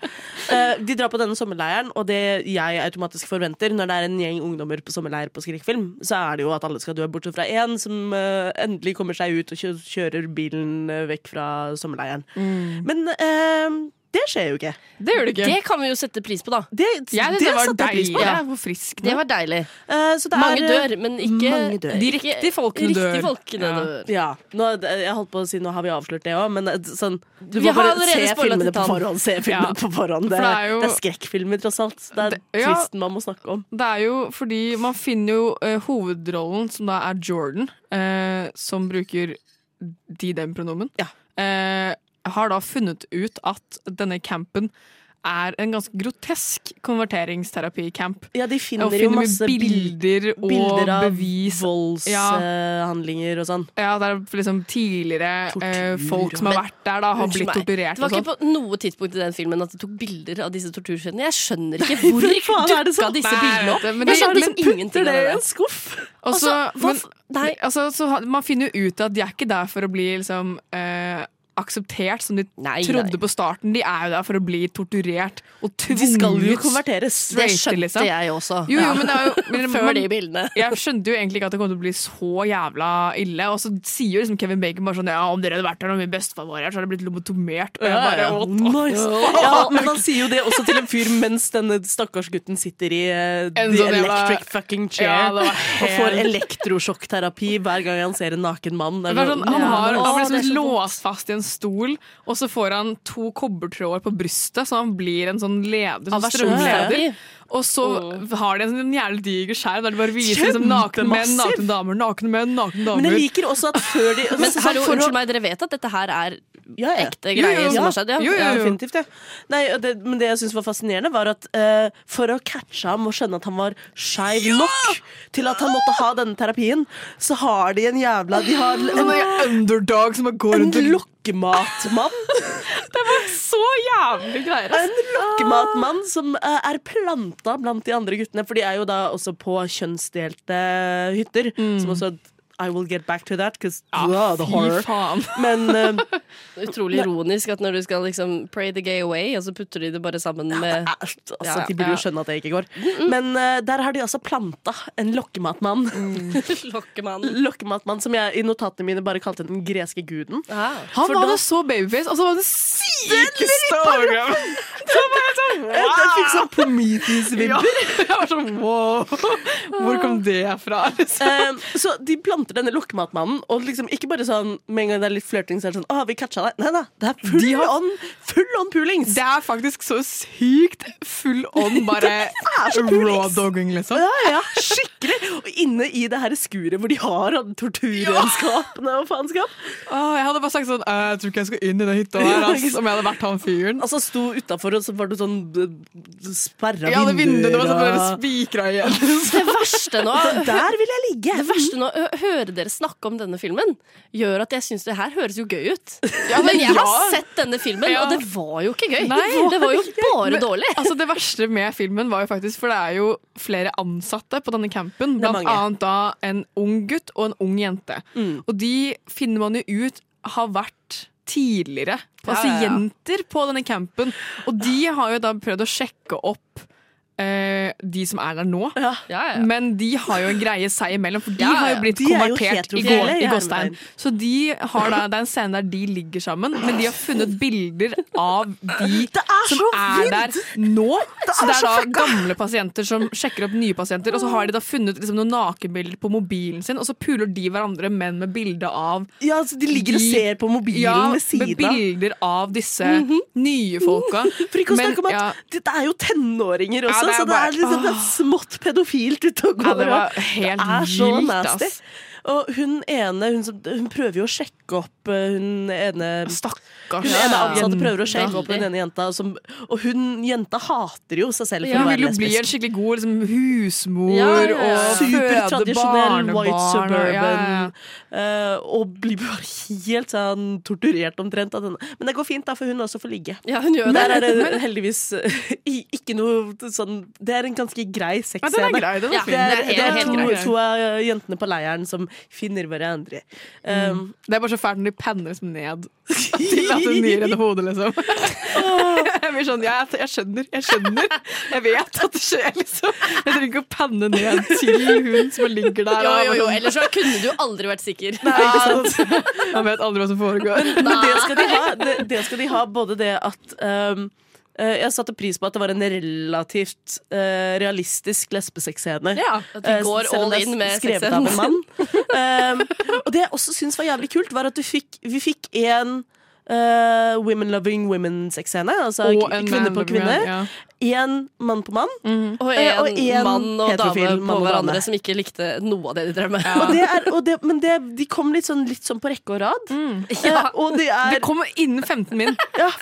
B: Eh, De drar på denne sommerleiren, og det jeg automatisk forventer når det er en gjeng ungdommer på sommerleir på skrekkfilm, så er det jo at alle skal dø, bortsett fra én som eh, endelig kommer seg ut og kjø- kjører bilen eh, vekk fra sommerleiren.
C: Mm.
B: Men eh, det skjer jo ikke.
C: Det gjør det ikke.
D: Det kan vi jo sette pris på, da.
B: Det,
C: jeg synes det var
B: satte jeg pris
C: deilig.
B: på.
C: Ja. eh, Hvor frisk
D: Det
C: den var.
D: var deilig.
B: Eh, så det
D: Mange
B: er,
D: dør, men ikke
B: mange dør.
D: De
C: riktige folkene dør.
D: Riktig folkene
C: Ja.
D: dør.
B: Ja. Nå, jeg holdt på å si nå har vi avslørt det òg, men eh, sånn, du
D: Vi
B: må
D: har
B: bare
D: allerede
B: se
D: spoilet
B: filmene på
D: Titan.
B: forhånd. Se filmene
C: Ja.
B: på forhånd. Det,
C: For det
B: det,
C: er
B: er
C: jo-
B: skrekkfilmer, tross alt. Det er
C: Det- ja.
B: twisten man må snakke om.
C: Det er jo fordi man finner jo eh, hovedrollen, som da er Jordan, eh, som bruker de-dem-pronomen,
B: Ja.
C: eh, har da funnet ut at denne campen er en ganske grotesk konverteringsterapi-camp.
B: Ja, de finner,
C: og
B: jo
C: finner
B: masse
C: mye
B: bilder,
C: bilder og
B: bilder av
C: bevis. Ja.
B: voldshandlinger og sånn.
C: Ja, det er liksom tidligere eh,
B: Tortur,
C: folk som har
D: Men-
C: vært der, da, har
D: Unnskyld
C: blitt
D: meg.
C: operert
D: Det var
C: og sånn.
D: ikke på noe tidspunkt i den filmen at de tok bilder av disse torturscenene. Jeg skjønner ikke hvor
B: faen er det
D: dukka
B: sånn?
D: disse
C: Nei,
D: bildene opp.
C: det- men
D: Jeg
C: det-
D: skjønner
C: men
D: liksom ingenting av
B: det i
D: det.
B: en skuff!
C: Og så-
D: Altså, hva
C: men-
D: f- nei.
C: altså, så ha- man finner jo ut at de er ikke der for å bli liksom, eh, akseptert, som de
D: Nei,
C: trodde
D: nei.
C: på starten. De er jo der for å bli torturert og tvunget.
B: De skal jo konverteres.
D: Det
C: straighte,
D: skjønte
C: liksom.
D: jeg også.
C: Jo, jo, men det er jo, men
D: Før
C: man-
D: de bildene.
C: Jeg skjønte jo egentlig ikke at det kom til å bli så jævla ille. Og så sier jo liksom Kevin Bacon bare sånn Ja, om dere hadde vært der når min bestefar var her, så hadde det blitt lobotomert. Og jeg
B: Ja,
C: bare,
B: ja.
C: what the
B: Nice. Ja, men han sier jo det også til en fyr mens denne stakkars gutten sitter i eh,
C: En
B: the
C: sånn jævla-
B: electric fucking
C: Ja,
B: chair
C: det var
B: og får
C: helt-
B: elektrosjokkterapi hver gang han ser en naken mann. Det er
C: Det var
B: noe-
C: sånn, han, har,
B: Åh,
C: han blir
B: det er
C: liksom
B: så vondt.
C: låst fast i en stol, og så får han to kobbertråder på brystet, så han blir en sånn leder, sånn strømleder. Og så har de en sånn jævlig diger skjerm der de bare viser liksom, nakne menn,
B: Kjempemassiv!
C: nakne damer, nakne menn, nakne damer.
B: Men jeg liker også at før de
D: Men
B: sånn
D: hallo,
B: for å-
D: unnskyld meg, dere vet at dette her er
B: Ja, ja.
D: ekte
C: Jo, jo,
D: greier som
C: ja.
D: har skjedd?
C: Jo, jo,
B: Ja, definitivt, ja. Nei, og det, men det jeg syns var fascinerende, var at eh, for å catche ham og skjønne at han var skeiv nok til at han måtte ha denne terapien, så har de en jævla De har
C: en
B: en,
C: underdog som bare går
B: en
C: rundt og
B: lokkematmann.
C: Så jævlig greier! ass.
B: En lokkematmann som eh, er planta blant de andre guttene, for de er jo da også på kjønnsdelte hytter, som også I will get back to that, because
C: Ja,
B: the
C: fy
B: horror.
C: faen.
B: Men eh,
D: Utrolig ironisk at når du skal liksom pray the gay away, og så putter de det bare sammen med
B: Altså,
D: Ja, ja.
B: De burde
C: Ja. Mm,
B: jo skjønne at det ikke går. Men eh, der har de altså planta en lokkematmann.
C: Mm.
D: Lokkemann.
B: Lokkematmann som jeg i notatene mine bare kalte den greske guden.
C: Han
B: For
C: var
B: da-
C: da så babyface, og så var det sykeste overgrep! Så var jeg sånn, wow!
B: Jeg fikk sånn Prometheus-vibber.
C: Ja, jeg var sånn wow! Hvor kom det fra? Liksom?
B: Eh, så de planter denne lokkematmannen, og liksom ikke bare sånn med en gang det er litt flørting, så er det sånn Å, vi catcha deg. Nei da, det er full
C: De har-
B: on full on pulings!
C: Det er faktisk så sykt full on bare
B: så pulings.
C: raw dogging, liksom.
B: Ja, ja, skikkelig! Og inne i det her skuret hvor de har torturredskapene og faenskap.
C: Åh, jeg hadde bare sagt sånn «Eh, Jeg tror ikke jeg skal inn i den hytta der, ass, om jeg hadde vært han fyren.
B: Altså sto utafor, og så var det sånn eh, sperra
C: Jeg hadde vinduene var sånn bare
B: og-
C: spikra igjen. liksom.
D: Det verste nå
B: Det Der vil jeg ligge!
D: Det verste nå, å høre dere snakke om denne filmen, gjør at jeg syns det her høres jo gøy ut.
C: Ja,
D: Men jeg har
C: ja.
D: sett denne filmen,
C: Ja.
D: og det var jo ikke gøy.
C: Nei.
D: det var jo bare
C: Men,
D: dårlig.
C: Altså Det verste med filmen var jo faktisk For det er jo flere ansatte på denne campen.
B: er
C: Blant
B: mange.
C: annet da en ung gutt og en ung jente. Og de finner man jo ut har vært tidligere pasienter på denne campen. Og de har jo da prøvd å sjekke opp eh, de som er der nå.
D: Ja, ja.
C: Men de har jo en greie seg imellom, for de
D: Ja, ja.
C: har jo blitt
B: De er jo
C: konvertert i,
B: heterofile,
C: går,
B: i
C: i gåstein.
B: hermetegn.
C: Så de har da, det er en scene der de ligger sammen, men de har funnet bilder av de som er der nå. så det er da gamle pasienter som sjekker opp nye pasienter, og så har de da funnet liksom, noen nakenbilder på mobilen sin, og så puler de hverandre, men med bilde av
B: Ja, altså, de ligger og
C: De-
B: ser på mobilen
C: ja,
B: ved
C: med
B: siden av. Mhm.
C: bilder av disse nye folka.
B: For ikke å
C: Men,
B: snakke om at
C: ja,
B: dette er jo tenåringer også,
C: Ja, det er
B: så det
C: bare-
B: er, liksom, det er smått pedofilt ute og
C: ja,
B: går.
C: det var
B: og
C: helt
B: det er så
C: vilt,
B: nasty.
C: ass.
B: Og hun ene hun, som, hun prøver jo å sjekke opp eh, hun ene
C: Stakkars.
B: Hun ene ansatte prøver å sjekke opp
D: Veldig.
B: den ene jenta, som, og hun jenta hater jo seg selv for
D: Ja,
B: å
C: Hun
B: være
C: vil jo bli en
B: lesbisk.
C: skikkelig god liksom, husmor
D: Ja, ja, ja.
C: og føde
B: Supertradisjonell
C: barnebarn.
B: white
C: og-
B: suburban.
C: ja, ja, ja.
B: eh, og blir bare helt sånn torturert omtrent av denne. Men det går fint, da, for hun også får ligge.
D: Ja, hun gjør jo
B: Der
D: det.
B: er det heldigvis eh, i- ikke noe sånn Det er en ganske grei
C: Ja, den er
B: sexscene.
C: grei, den er
D: Ja,
C: fin.
B: Det er,
D: helt-
B: det er
D: helt
B: to,
C: grei.
B: to av eh, jentene på leiren som finner hverandre. Um,
C: Det er bare så fælt når de penner liksom ned til at hun gir henne hodet, liksom. Jeg blir sånn, ja, jeg skjønner, jeg skjønner. Jeg vet at det skjer, liksom. Jeg trenger ikke å penne ned til hun som ligger der.
D: Jo,
C: og
D: jo, jo.
C: bare sånn,
D: Ellers så kunne du jo aldri vært sikker.
C: Man vet aldri hva som foregår.
B: Men det skal de ha. Det, det skal de ha både det at um, eh, Jeg satte pris på at det var en relativt eh, realistisk lesbesexscene.
D: Ja, at de
B: Eh,
D: går
B: selv om
D: all
B: det er
D: in med
B: skrevet
D: sexscenen
B: av en mann. Um, og det jeg også syns var jævlig kult, var at du fikk, vi fikk en eh, women loving women-sexscene. Altså
C: Og en
B: kvinne
C: man
B: på
C: loving
B: kvinne.
C: man, ja. Mhm.
B: Én mann på mann.
D: Og
B: Eh, og
D: en
B: en
D: mann og
B: heterofil
D: dame
B: mann
D: på
B: og
D: hverandre
B: dame.
D: som ikke likte noe av det de drev med.
B: Og det er, og det, men det, de kom litt sånn, litt sånn på rekke og rad. Eh, og det er
C: Mm. Det kom innen 15 min.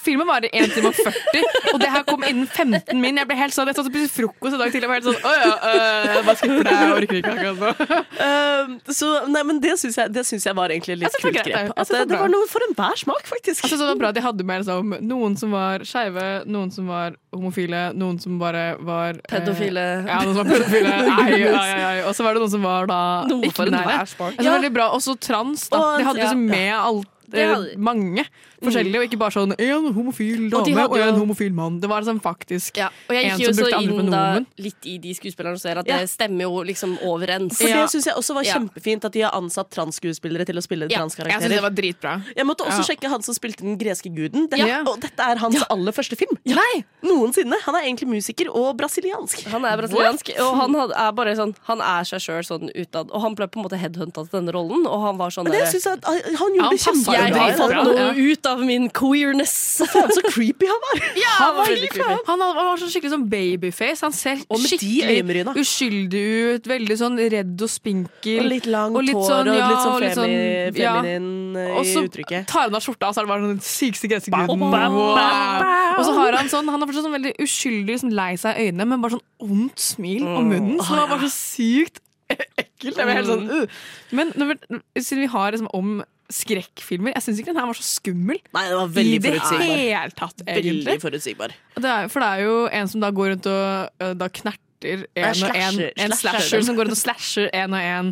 C: Filmen varer 1 time og 40, og det her kom innen 15 min. Jeg ble helt sånn, jeg satt og spiste frokost i dag til og var helt sånn Å ja, øh, jeg bare skipper det. Jeg orker ikke akkurat nå.
B: Ehm, så, nei, men det syns jeg, det syns jeg var egentlig et
C: Jeg
B: litt
C: synes
B: kult
C: det var greit,
B: grep.
C: jeg. Jeg
B: At
C: synes
B: det, det
C: det var bra.
B: var noe for enhver smak, faktisk.
C: Jeg synes Altså, det var bra at de hadde med liksom, noen som var skeive, noen som var homofile, noen som bare var eh,
D: Pedofile.
C: Ja, noen som var pedofile. Ai, ai, ai, ai. Og så var det noen som var da
D: Noe for
C: ikke-binære.
D: enhver
C: Jeg synes det var veldig bra. Også trans, da.
B: Og-
C: De hadde liksom
D: ja,
C: med alt.
D: Det
C: eh,
D: hadde de.
C: Mange forskjellige, og ikke bare sånn en homofil
D: Og de
C: dame
D: hadde
C: og en
D: jo-
C: homofil mann. Det var sånn faktisk
D: Ja, og jeg
C: En
D: gikk jo
C: som
D: så
C: brukte andre
D: inn da,
C: pronomen.
D: litt i de skuespillerne og ser at
B: Ja.
D: det stemmer jo liksom overens.
B: For
C: Ja.
B: det syns jeg også var
D: Ja.
B: kjempefint at de har ansatt transskuespillere til å spille
D: Ja,
C: Jeg syns det
B: transkarakterer.
C: var dritbra.
B: Jeg måtte også
C: Ja.
B: sjekke han som spilte den greske guden. Dette,
C: Ja.
B: Og dette er hans aller første film. Nei, Noensinne. Han er egentlig musiker og brasiliansk.
D: Han er brasiliansk, og han had- er bare sånn Han er seg sjøl sånn utad. Og han ble på en måte headhunta til denne rollen, og han var sånn
B: Men det
D: der,
B: synes jeg at Han gjorde
C: Han
B: det
C: passer
D: Jeg
C: bra,
B: kjempebra.
D: har
C: ja.
D: fått
C: bra,
D: noe ut av min queerness!
B: Faen, så creepy han var!
C: Han var,
D: veldig creepy.
C: han hadde- han var sånn skikkelig sånn babyface. Han ser
B: Og med de
C: skikkelig
B: øyenbryna.
C: uskyldig ut. Veldig sånn redd og spinkel.
B: Og litt langt
C: Og litt
B: hår
C: sånn, ja,
B: og litt sånn
C: og litt
B: femi-
C: sånn- ja.
B: feminin eh,
C: og
B: i
C: så
B: uttrykket.
C: tar han av skjorta, og så er det bare den sykeste grensegruden.
B: Bam, bam,
C: Wow.
B: bam,
C: Og så har han sånn Han har fortsatt sånn veldig uskyldig liksom lei seg i øynene, men bare sånn ondt smil om
B: Mm.
C: munnen. Så det var bare så sykt ekkelt. Jeg ble helt sånn
B: Mm.
C: uh. Men når, vi- siden vi har liksom om skrekkfilmer Jeg syns ikke den her var så skummel.
B: Nei, det var veldig
C: I det
B: forutsigbar.
C: hele tatt, egentlig.
B: Veldig forutsigbar.
C: Og Det er, for det er jo en som da går rundt og ø, da knerter en
B: Ja,
C: og en.
B: slasher,
C: En
B: slasher.
C: slasher som går rundt og slasher en og en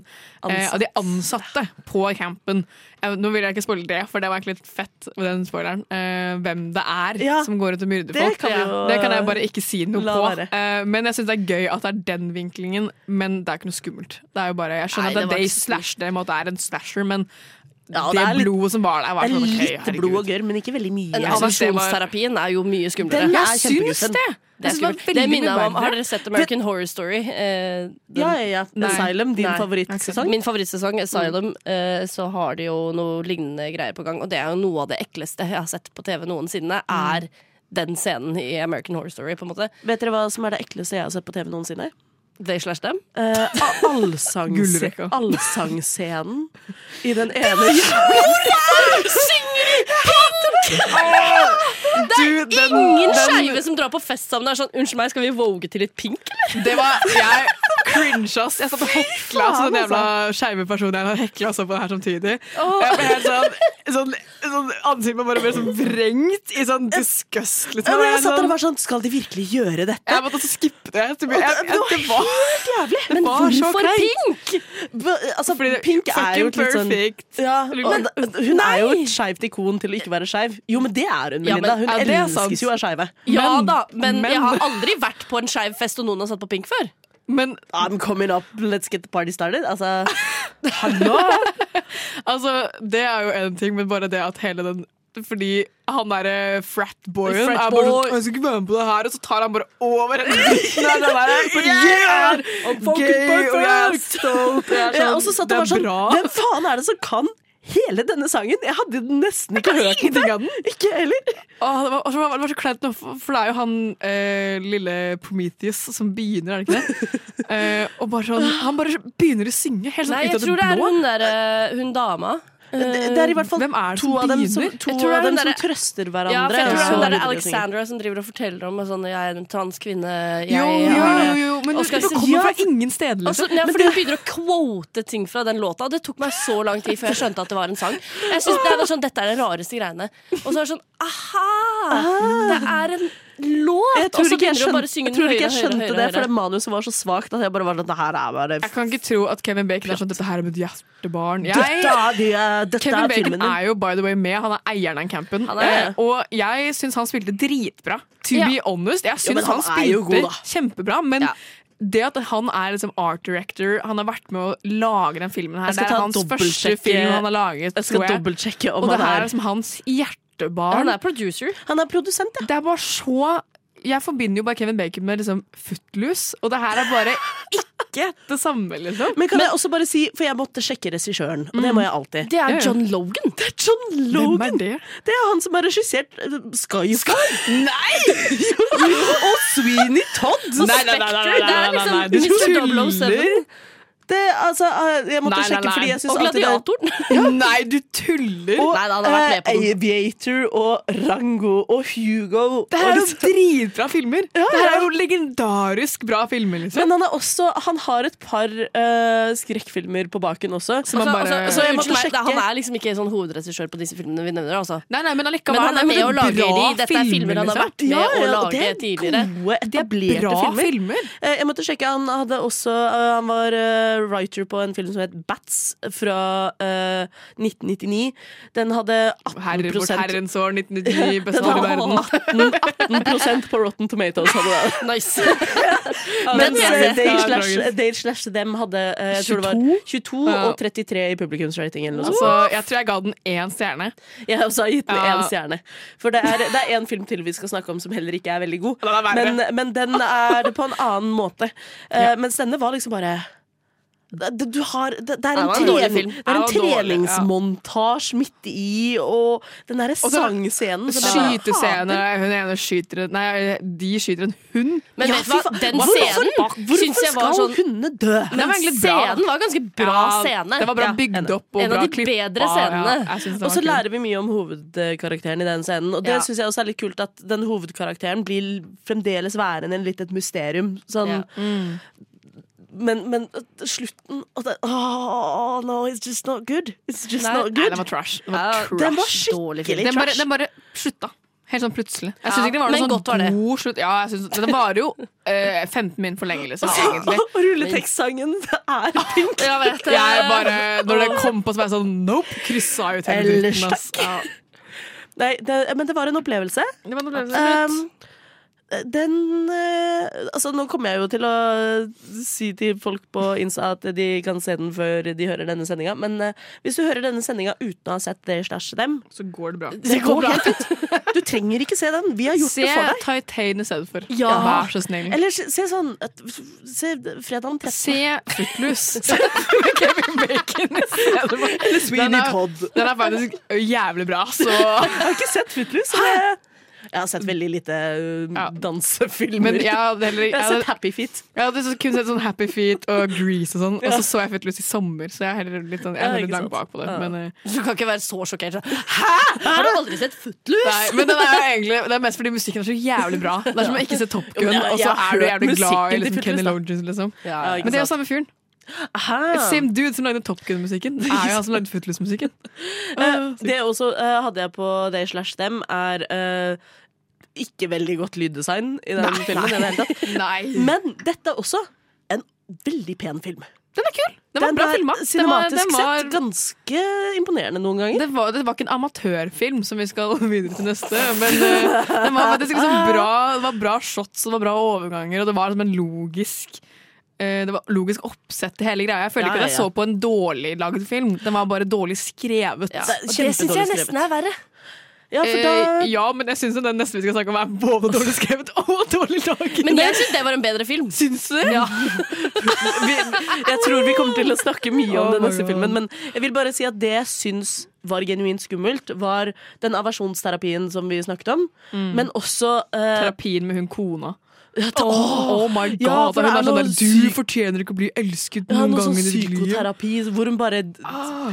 C: eh, av de ansatte på campen. Eh, nå vil jeg ikke spoile det, for det var egentlig litt fett med den spoileren. eh, hvem det er
B: Ja,
C: som går rundt og myrder
B: det
C: folk.
B: kan vi jo-
C: det kan jeg bare ikke si noe
B: la
C: på.
B: være.
C: Eh, men jeg syns det er gøy at det er den vinklingen, men det er ikke noe skummelt. Det er jo bare, Jeg skjønner
D: Nei, det
C: at
D: var
C: det er
D: ikke
C: de
D: så
C: slash, det måte er en slasher, men
B: Ja, og
C: det,
B: det er litt-
C: blodet som var der, var
B: Det
C: sånn
B: er
C: ok,
B: litt
C: herregud.
B: blod og gørr, men ikke veldig mye.
D: Men
C: Jeg synes det var-
D: Avasjonsterapien er jo mye skumlere.
C: Den,
B: Det er
C: jeg syns
B: kjempeguffen.
C: det! Jeg synes
D: Det,
C: det,
D: er
C: var
D: skummelt. det
C: veldig mye
D: minner meg om
C: verre.
D: Har dere sett American Horror Story? Eh, den,
B: Ja, ja, ja.
C: Nei.
B: Asylum, din
D: Nei.
B: favorittsesong.
D: Min favorittsesong,
C: Mm.
D: Asylum, eh, så har de jo noe lignende greier på gang. Og det er jo noe av det ekleste jeg har sett på TV noensinne,
C: Mm.
D: er den scenen i American Horror Story, på en måte.
B: Vet dere hva som er det ekleste jeg har sett på TV noensinne?
D: They slash them.
B: Eh, allsangs-
C: Gullrekka.
B: Allsangscenen i den ene jævla
C: Du, den-
D: Ingen
C: den-
D: skeive som drar på fest sammen og er sånn 'Unnskyld meg, skal vi våge til litt pink', eller?
C: Det var Jeg cringe, ass. Jeg satt og hekla så den jævla
B: altså.
C: skeive personen jeg hekla også på det her samtidig. Jeg ble helt sånn, sånn, sånn Ansiktet mitt bare ble sånn vrengt i sånn disgust,
B: Ja,
C: liksom.
B: men jeg
C: Jeg,
B: satt der og
C: sånn,
B: var sånn Skal de virkelig gjøre dette?
C: jeg måtte også skippe det. Jeg, jeg, jeg, det var
B: Jævlig! Men
C: var så
B: hvorfor
C: kleint.
B: pink? B- Altså,
C: fordi det
B: pink er jo
C: fucking
B: et litt sånn
C: perfect.
B: ja,
C: Eller
B: og,
C: bare-
B: d- Hun er jo et skeivt ikon til å ikke være skeiv. Jo, men det er hun,
D: Ja, men
B: Melinda. Hun
C: er det sant?
B: elskes jo av skeive.
D: Ja
C: Men-
D: da, men,
C: men-
D: jeg har aldri vært på en skeiv fest og noen har satt på pink før.
C: Men
B: I'm coming up, let's get the party started. Altså,
C: Altså, det er jo en ting, men bare det at hele den fordi han derre fratboyen
B: Frat
C: er bare
B: boy.
C: sånn 'Jeg skal ikke være med på det her', og så tar han bare over en dritten av det der. Fordi
B: Yeah!
C: jeg er
B: I'm fucking
C: gay, og jeg er
B: perfect!
C: stolt. Jeg er
B: jeg
C: sånn,
B: også satt og
C: det er
B: var sånn
C: bra.
B: Hvem faen er det som kan hele denne sangen? Jeg hadde nesten ikke hørt ingenting av den. Ikke heller.
C: Åh, det, var, og så var, det var så kleint nå, for for det er jo han eh, lille Prometheus som begynner, er det ikke det? eh, og bare sånn, Han bare begynner å synge helt sånn
D: Nei,
C: ut
D: jeg
C: av
D: tror det
C: det
D: er
C: blå.
D: hun der, eh, hun dama.
B: Det det er i hvert fall
C: Hvem er det
B: to
C: som
B: av dem
C: begynner?
B: som, to
D: Jeg tror det er
B: av dem
D: hun
B: som
D: derre-
B: trøster hverandre.
D: Ja, for jeg tror
B: og så
D: det er hun der
B: videre synger.
D: Alexandra som driver og forteller om at sånn, 'jeg er en transkvinne', jeg
C: Jo, jo,
D: har det
C: jo, jo, men
D: Og
C: det
D: skal jeg si-
C: kommer fra ingen steder.
D: Og så-
C: Liksom.
D: ja, Altså, fordi Hun begynner å quote ting fra den låta, og det tok meg så lang tid før jeg skjønte at det var en sang. Jeg synes det var sånn, Dette er de rareste greiene. Og så er det sånn aha! Det er en låt!
B: Ah. Jeg
D: og
B: tror
D: så
B: ikke jeg
D: begynner hun bare
B: skjønte,
D: å synge
B: jeg
D: den
B: tror
D: høyere
B: ikke
D: og
B: jeg
D: høyere.
B: skjønte
D: høyere,
B: det,
D: høyere.
B: for det manuset var så svakt at jeg bare var sånn Det her er bare
C: Jeg kan ikke tro at Kevin Bacon er sånn 'Dette her er mitt hjertebarn'. Jeg
B: Dette er, de, dette
C: Kevin
B: er
C: Bacon
B: filmen din.
C: er jo by the way med. Han er eieren av campen.
D: Han er det.
C: Eh, Og jeg syns han spilte dritbra. To
D: Ja.
C: be honest. Jeg
B: men
C: syns
B: han
C: han,
B: er jo
C: spilte
B: god, da.
C: kjempebra, men
D: Ja.
C: det at han er liksom art director, han har vært med å lage den filmen her.
B: Jeg skal
C: Det er
B: ta
C: hans første
B: dobbeltsjekke-
C: film han har laget.
B: Jeg skal
C: tror jeg.
B: dobbeltsjekke om
C: Og det
B: han
C: her
B: er
C: er liksom hans
D: Han
C: hjertebarn.
D: er producer.
B: Han er produsent, ja.
C: Det er bare så Jeg forbinder jo bare Kevin Bacon med liksom Footloose, og det her er bare ikke det samme, liksom.
B: Men kan jeg også bare si, for jeg måtte sjekke regissøren, og det må jeg alltid.
D: Det
C: Ja,
D: er
C: ja.
D: John Logan.
B: Det er John
C: Hvem er
B: Logan!
C: det?
B: Det er han som har regissert eh, Skyfall. Nei! og Sweeney Todd. Og
C: Nei, nei, nei, nei, nei, nei, nei, nei,
D: Det er
C: du
D: liksom Mr.
C: tuller.
D: 007
B: Det, altså, eh, jeg måtte
C: Nei, nei,
B: sjekke
C: nei.
B: fordi jeg
D: og
B: syns alltid det
D: Gladiatoren.
C: Nei, du tuller!
B: og
D: Nei, da, han har vært med på
B: eh, Aviator og Rango og Hugo.
C: Det
B: og
C: her er jo
B: liksom-
C: dritbra filmer! Det her
B: ja.
C: er jo legendarisk bra filmer, liksom.
B: Men han, er også, han har et par eh, skrekkfilmer på baken også.
C: Som man
D: Altså,
C: bare
D: altså,
B: jeg måtte
D: unnskyld meg,
B: sjekke.
D: Han er liksom ikke sånn hovedregissør på disse filmene vi nevner. Altså.
C: Nei, nei, men allikevel.
D: Men han
C: det
D: er med
C: jo
D: og lager
C: bra
D: de. Dette er filmer han har
C: liksom.
D: vært med å
B: og
D: lage tidligere.
B: Gode,
C: Det er
B: etablerte
C: bra
B: filmer.
C: filmer.
B: Eh, Jeg måtte sjekke, Han hadde også eh, Han var eh, writer på en film som het Bats fra eh, 1999. Den hadde 18
C: Herre, vårt herrens år 1999, beste
B: den
C: år i
B: hadde
C: verden.
B: 18, 18 på Rotten Tomatoes. Hadde det.
D: Nice.
B: Mens
C: den
B: eh,
C: ser jeg.
B: Dage
C: Ja,
B: slash,
C: tragisk.
B: Dage slash Dem hadde eh, jeg tror det var 22
C: Ja.
B: og 33 i publikumsratingen. eller noe sånt.
C: Altså, jeg tror jeg ga den én stjerne.
B: Jeg har også gitt den
C: Ja.
B: én stjerne. For det er, det er en film til vi skal snakke om som heller ikke er veldig god.
C: Den er verre.
B: men, men den er det på en annen måte. Eh, Mens denne var liksom bare det, det- du har, det, det er en,
D: var en dårlig
B: trening,
D: film.
B: det er en
C: Den var dårlig, ja.
B: treningsmontasje midt i, og den derre
C: Og så-
B: sangscenen som jeg bare-
C: Skytescener. Hun ene skyter en Nei, de skyter en hund.
D: Men
B: Ja,
D: vet du
B: fy
D: hva,
B: faen.
D: den
B: Hvorfor-
D: scenen syns
B: Hvorfor
D: jeg var
B: skal
D: sånn
B: hundene dø?
C: Den var
D: Men
C: egentlig bra.
D: scenen var ganske bra
C: Ja,
D: scene.
C: Den var bra
D: Ja.
C: bygd opp og
D: En av
C: bra
D: de
C: klippa.
D: bedre
C: Ja,
D: scenene.
C: jeg synes den
B: Og så
C: var
B: lærer
C: kul.
B: vi mye om hovedkarakteren i den scenen. Og det
D: Ja.
B: synes jeg også er litt kult at den hovedkarakteren blir fremdeles værende litt et mysterium. Sånn.
D: Ja.
C: Mm.
B: Men, men øh, slutten og det, oh, no, it's just not good. It's just
D: Nei,
B: not
C: Nei,
B: good.
C: den var trash. Den
D: Ja,
C: var trash.
B: den var
D: trash. Dårlig film.
B: skikkelig
C: Den bare,
B: trash.
C: den bare slutta. Helt sånn plutselig. Jeg syns
D: Ja,
C: ikke det var
D: men
C: noen
D: godt var det.
C: sånn god slutt. Ja, jeg synes, men det varer jo eh, 15 min for lenge, liksom. Egentlig.
B: og rulletekstsangen er pink.
D: Jeg vet det.
C: Jeg bare, når det kom på, så var jeg sånn Nope! Kryssa ut hele
B: Ellers
C: dritten, ass. Ja.
B: Nei, det, men det var en opplevelse.
C: Det var noe
B: Um, den eh, Altså, nå kommer jeg jo til å si til folk på Insta at de kan se den før de hører denne sendinga, men eh, hvis du hører denne sendinga uten å ha sett det slash dem
C: så går det bra.
B: Det går helt ut. Du trenger ikke se den. Vi har gjort
C: Se
B: det for deg.
C: Titan istedenfor.
B: Ja.
C: Vær så snill.
B: Eller se, se sånn at- Se fredagen 13.
C: Se Footloose med Kevin Bacon istedenfor. Eller
B: Sweeney Todd.
C: Den er faktisk jævlig bra, så
B: Jeg har ikke sett Footloose. så det- Jeg har sett veldig lite uh,
C: Ja.
B: dansefilmer.
C: Men jeg hadde heller
B: jeg
C: jeg
B: har
C: hadde,
B: sett Happy Feet.
C: jeg hadde så- kun sett sånn Happy Feet og Grease og sånn, og så så jeg Footloose i sommer, så jeg er heller litt, sånn, jeg
B: Ja,
C: er
B: ikke
C: heller
B: sant?
C: langt bak på det.
B: Ja.
C: Men, eh,
D: Du kan ikke være så sjokkert. Hæ?! Har du aldri sett Footloose?
C: Nei, men den er jo egentlig, det er mest fordi musikken er så jævlig bra. Det er som å ikke se Top
B: Jo,
C: Gun,
B: men jeg-
C: og så
B: jeg har
C: er du
B: hørt
C: jævlig glad i
B: musikken til
C: liksom Kenny
B: Footloose, da.
C: Loggins, liksom.
D: Ja,
B: Ja,
C: Men det er jo samme fyren.
B: Aha.
C: Same dude som lagde Top Gun-musikken. Det er jo han som lagde Footloose-musikken.
B: Eh, Det også eh, hadde jeg på They slash them, er eh, ikke veldig godt lyddesign i den filmen. i Det hele tatt.
C: Nei.
B: Men dette er også en veldig pen film.
C: Den er kul! Den var bra
B: er
C: filma. Den var,
B: Cinematisk
C: den var,
B: sett ganske imponerende noen ganger.
C: det, var, det var ikke en amatørfilm, som vi skal videre til neste. Men eh, den var faktisk liksom bra, det var bra shots og det var bra overganger, og det var liksom en logisk eh, det var logisk oppsett til hele greia. Jeg føler
B: Ja,
C: ikke at
B: ja, ja.
C: jeg så på en dårlig lagd film. Den var bare dårlig skrevet.
B: Ja,
D: Og det syns jeg nesten er verre.
B: Ja, for da
C: Eh, ja, men jeg syns den neste vi skal snakke om, er både dårlig skrevet og dårlig laget.
D: Men jeg syns det var en bedre film.
C: syns du? Ja.
B: vi, Jeg tror vi kommer til å snakke mye om
C: Oh
B: den
C: my
B: neste
C: God.
B: filmen, men jeg vil bare si at det jeg syns var genuint skummelt, var den aversjonsterapien som vi snakket om, men også eh,
C: Terapien med hun kona.
B: ja, ta-
C: Oh, my god!
B: Ja, for det
C: og hun er
B: er
C: sånn
B: noe
C: der
B: syk-
C: Du fortjener ikke å bli elsket
B: ja,
C: noen
B: noe sånn
C: gang i ditt liv.
B: psykoterapi hvor hun bare
C: Ah,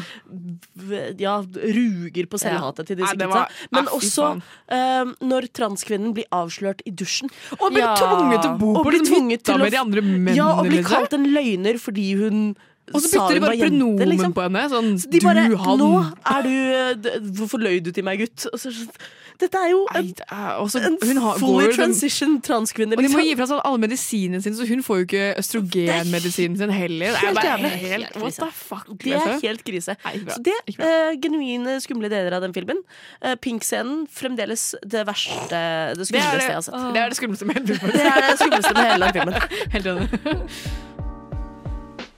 B: v- ja, ruger på selvhatet til disse
C: Nei, det
B: gutta.
C: var-
B: Men
C: Ah, fy
B: også
C: faen.
B: eh, når transkvinnen blir avslørt i dusjen.
C: Og bli
D: Ja.
C: tvunget til å bo
B: Og
C: på
B: bli
C: liksom
B: tvunget
C: hytta
B: til å-
C: med de andre mennene.
B: Ja, og blir
C: liksom.
B: kalt en løgner fordi hun
C: Og så
B: sa
C: bytter de
B: hun var
C: bare
B: jente,
C: pronomen
B: liksom.
C: på henne. Sånn
B: De bare
C: du, han.
B: Nå er du eh, d- Hvorfor løy du til meg, gutt? Og så, er det sånn, dette er jo
C: Nei,
B: en,
C: det er- og så-
B: en
C: hun har, går
B: fully
C: jo liksom-
B: transition transkvinne,
C: Og de må
B: liksom.
C: gi fra seg alle medisinene sine, så hun får jo ikke østrogenmedisinen sin heller. Det er
B: helt
C: bare
B: jævlig.
C: helt, what the fuck,
B: Det er
C: liksom.
B: helt krise.
C: Nei, ikke bra.
B: Så det
C: Ikke bra.
B: eh, genuine, skumle deler av den filmen. Eh, Pink-scenen fremdeles det verste Det
C: det, er
B: skumleste jeg har
C: det,
B: sett.
C: det er det skumleste med hele filmen.
B: Det er det skumleste med hele den filmen.
C: Helt enig.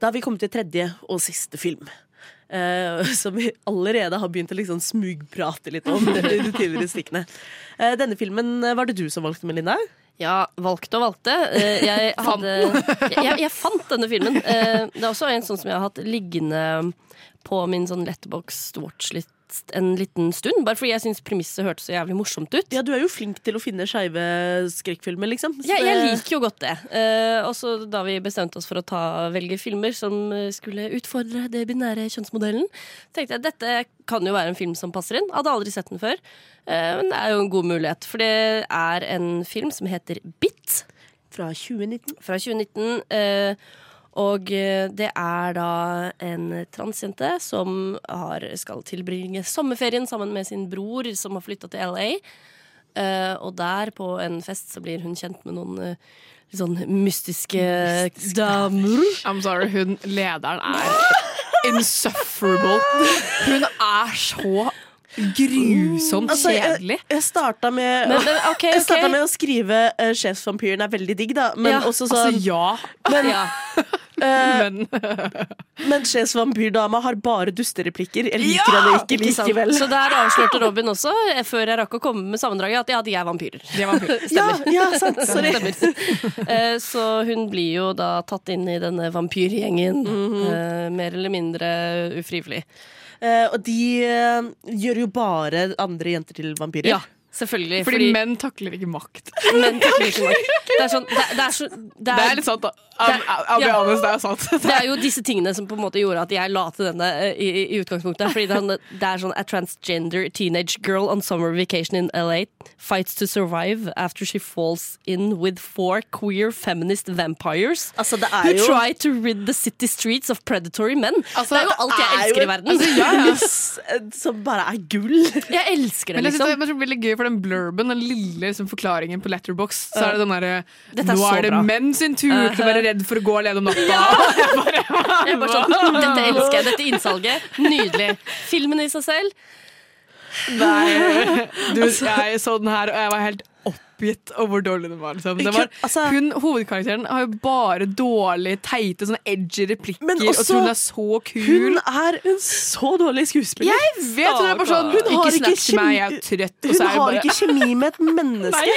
B: Da har vi kommet til tredje og siste film. eh, som vi allerede har begynt å liksom smugprate litt om. i de tidligere stikkene Eh, Denne filmen eh, var det du som valgte, Melinda.
D: Ja, valgte og valgte. Eh, Jeg, hadde, jeg, jeg fant denne filmen. Eh, Det er også en sånn som jeg har hatt liggende på min sånn letterboxd watchlist en liten stund. Bare fordi jeg syns premisset hørtes så jævlig morsomt ut.
B: Ja, du er jo flink til å finne skeive skrekkfilmer, liksom. Så
D: Jeg, jeg
B: det-
D: liker jo godt det. Eh, også da vi bestemte oss for å ta, velge filmer som eh, skulle utfordre det binære kjønnsmodellen, tenkte jeg at dette kan jo være en film som passer inn. Hadde aldri sett den før. Eh, men det er jo en god mulighet, for det er en film som heter Bit
B: Fra 2019.
D: fra 2019. eh, og eh, det er da en transjente som har, skal tilbringe sommerferien sammen med sin bror, som har flytta til LA. Eh, og der, på en fest, så blir hun kjent med noen eh, litt sånn mystiske damer.
C: I'm sorry, hun lederen er insufferable. Hun er så grusomt
B: Altså,
C: kjedelig.
B: jeg jeg starta med,
D: Men, men, ok,
B: jeg startet
D: ok.
B: med å skrive eh, 'Sjefsvampyren er veldig digg', da. Men
D: Ja,
B: også
C: Altså,
B: sånn
C: ja,
B: Men,
D: Ja.
B: Eh,
C: men
B: men sjefsvampyrdama har bare dustereplikker. Jeg liker henne ikke
D: Ikke sant?
B: likevel.
D: Så der avslørte Robin også, eh, før jeg rakk å komme med sammendraget, at ja, de er vampyrer.
C: det var fint.
B: ja, ja, sant. Sorry.
D: Eh, Så hun blir jo da tatt inn i denne vampyrgjengen, eh, mer eller mindre ufrivillig.
B: Eh, og de eh, gjør jo bare andre jenter til vampyrer.
D: Ja, selvfølgelig.
C: Fordi menn takler ikke makt.
D: menn takler ikke makt. Det er sånn Det, det, er, så, det,
C: Det er
D: er,
C: litt sant, da. I'll, I'll be
D: Ja.
C: honest, det er sant.
D: det er jo disse tingene som på en måte gjorde at jeg la til denne eh, i, i- i utgangspunktet. Fordi det er, sånn- det er sånn A transgender teenage girl on summer vacation in LA fights to survive after she falls in with four queer feminist vampires.
B: Altså, det er
D: Who
B: jo
D: try to rid the city streets of predatory men.
C: Altså,
D: det er jo alt jeg
B: det er jo
D: elsker
B: et-
D: i verden.
B: altså, ja, ja. Yes, eh, Som bare er gull.
D: Jeg elsker det,
C: Men jeg synes
D: liksom.
C: det er veldig gøy for den blurben, den lille liksom, forklaringen på Letterbox. Så er det den derre
D: Dette er
C: Nå
D: så
C: er det
D: bra."
C: menn sin tur til å være redd for å gå alene om natta.
D: sånn, Jeg er bare sånn, Dette elsker jeg. Dette innsalget. Nydelig. Filmen i seg selv.
C: Nei. Du, jeg så den her, og jeg var helt oppgitt over hvor dårlig den var. Liksom. Det
B: Ikke-
C: var
B: altså-
C: hun, hovedkarakteren har jo bare dårlig, teite, sånne edgy replikker,
B: Men
C: og
B: også-
C: tror hun er så kul.
B: Hun er en så dårlig skuespiller.
C: jeg vet hun er bare sånn
B: Hun har
C: Ikke snakk
B: ikke
C: til meg, jeg
B: kjemi-
C: er trøtt. Og
B: Hun
C: så er
B: har
C: hun bare,
B: ikke kjemi med et menneske.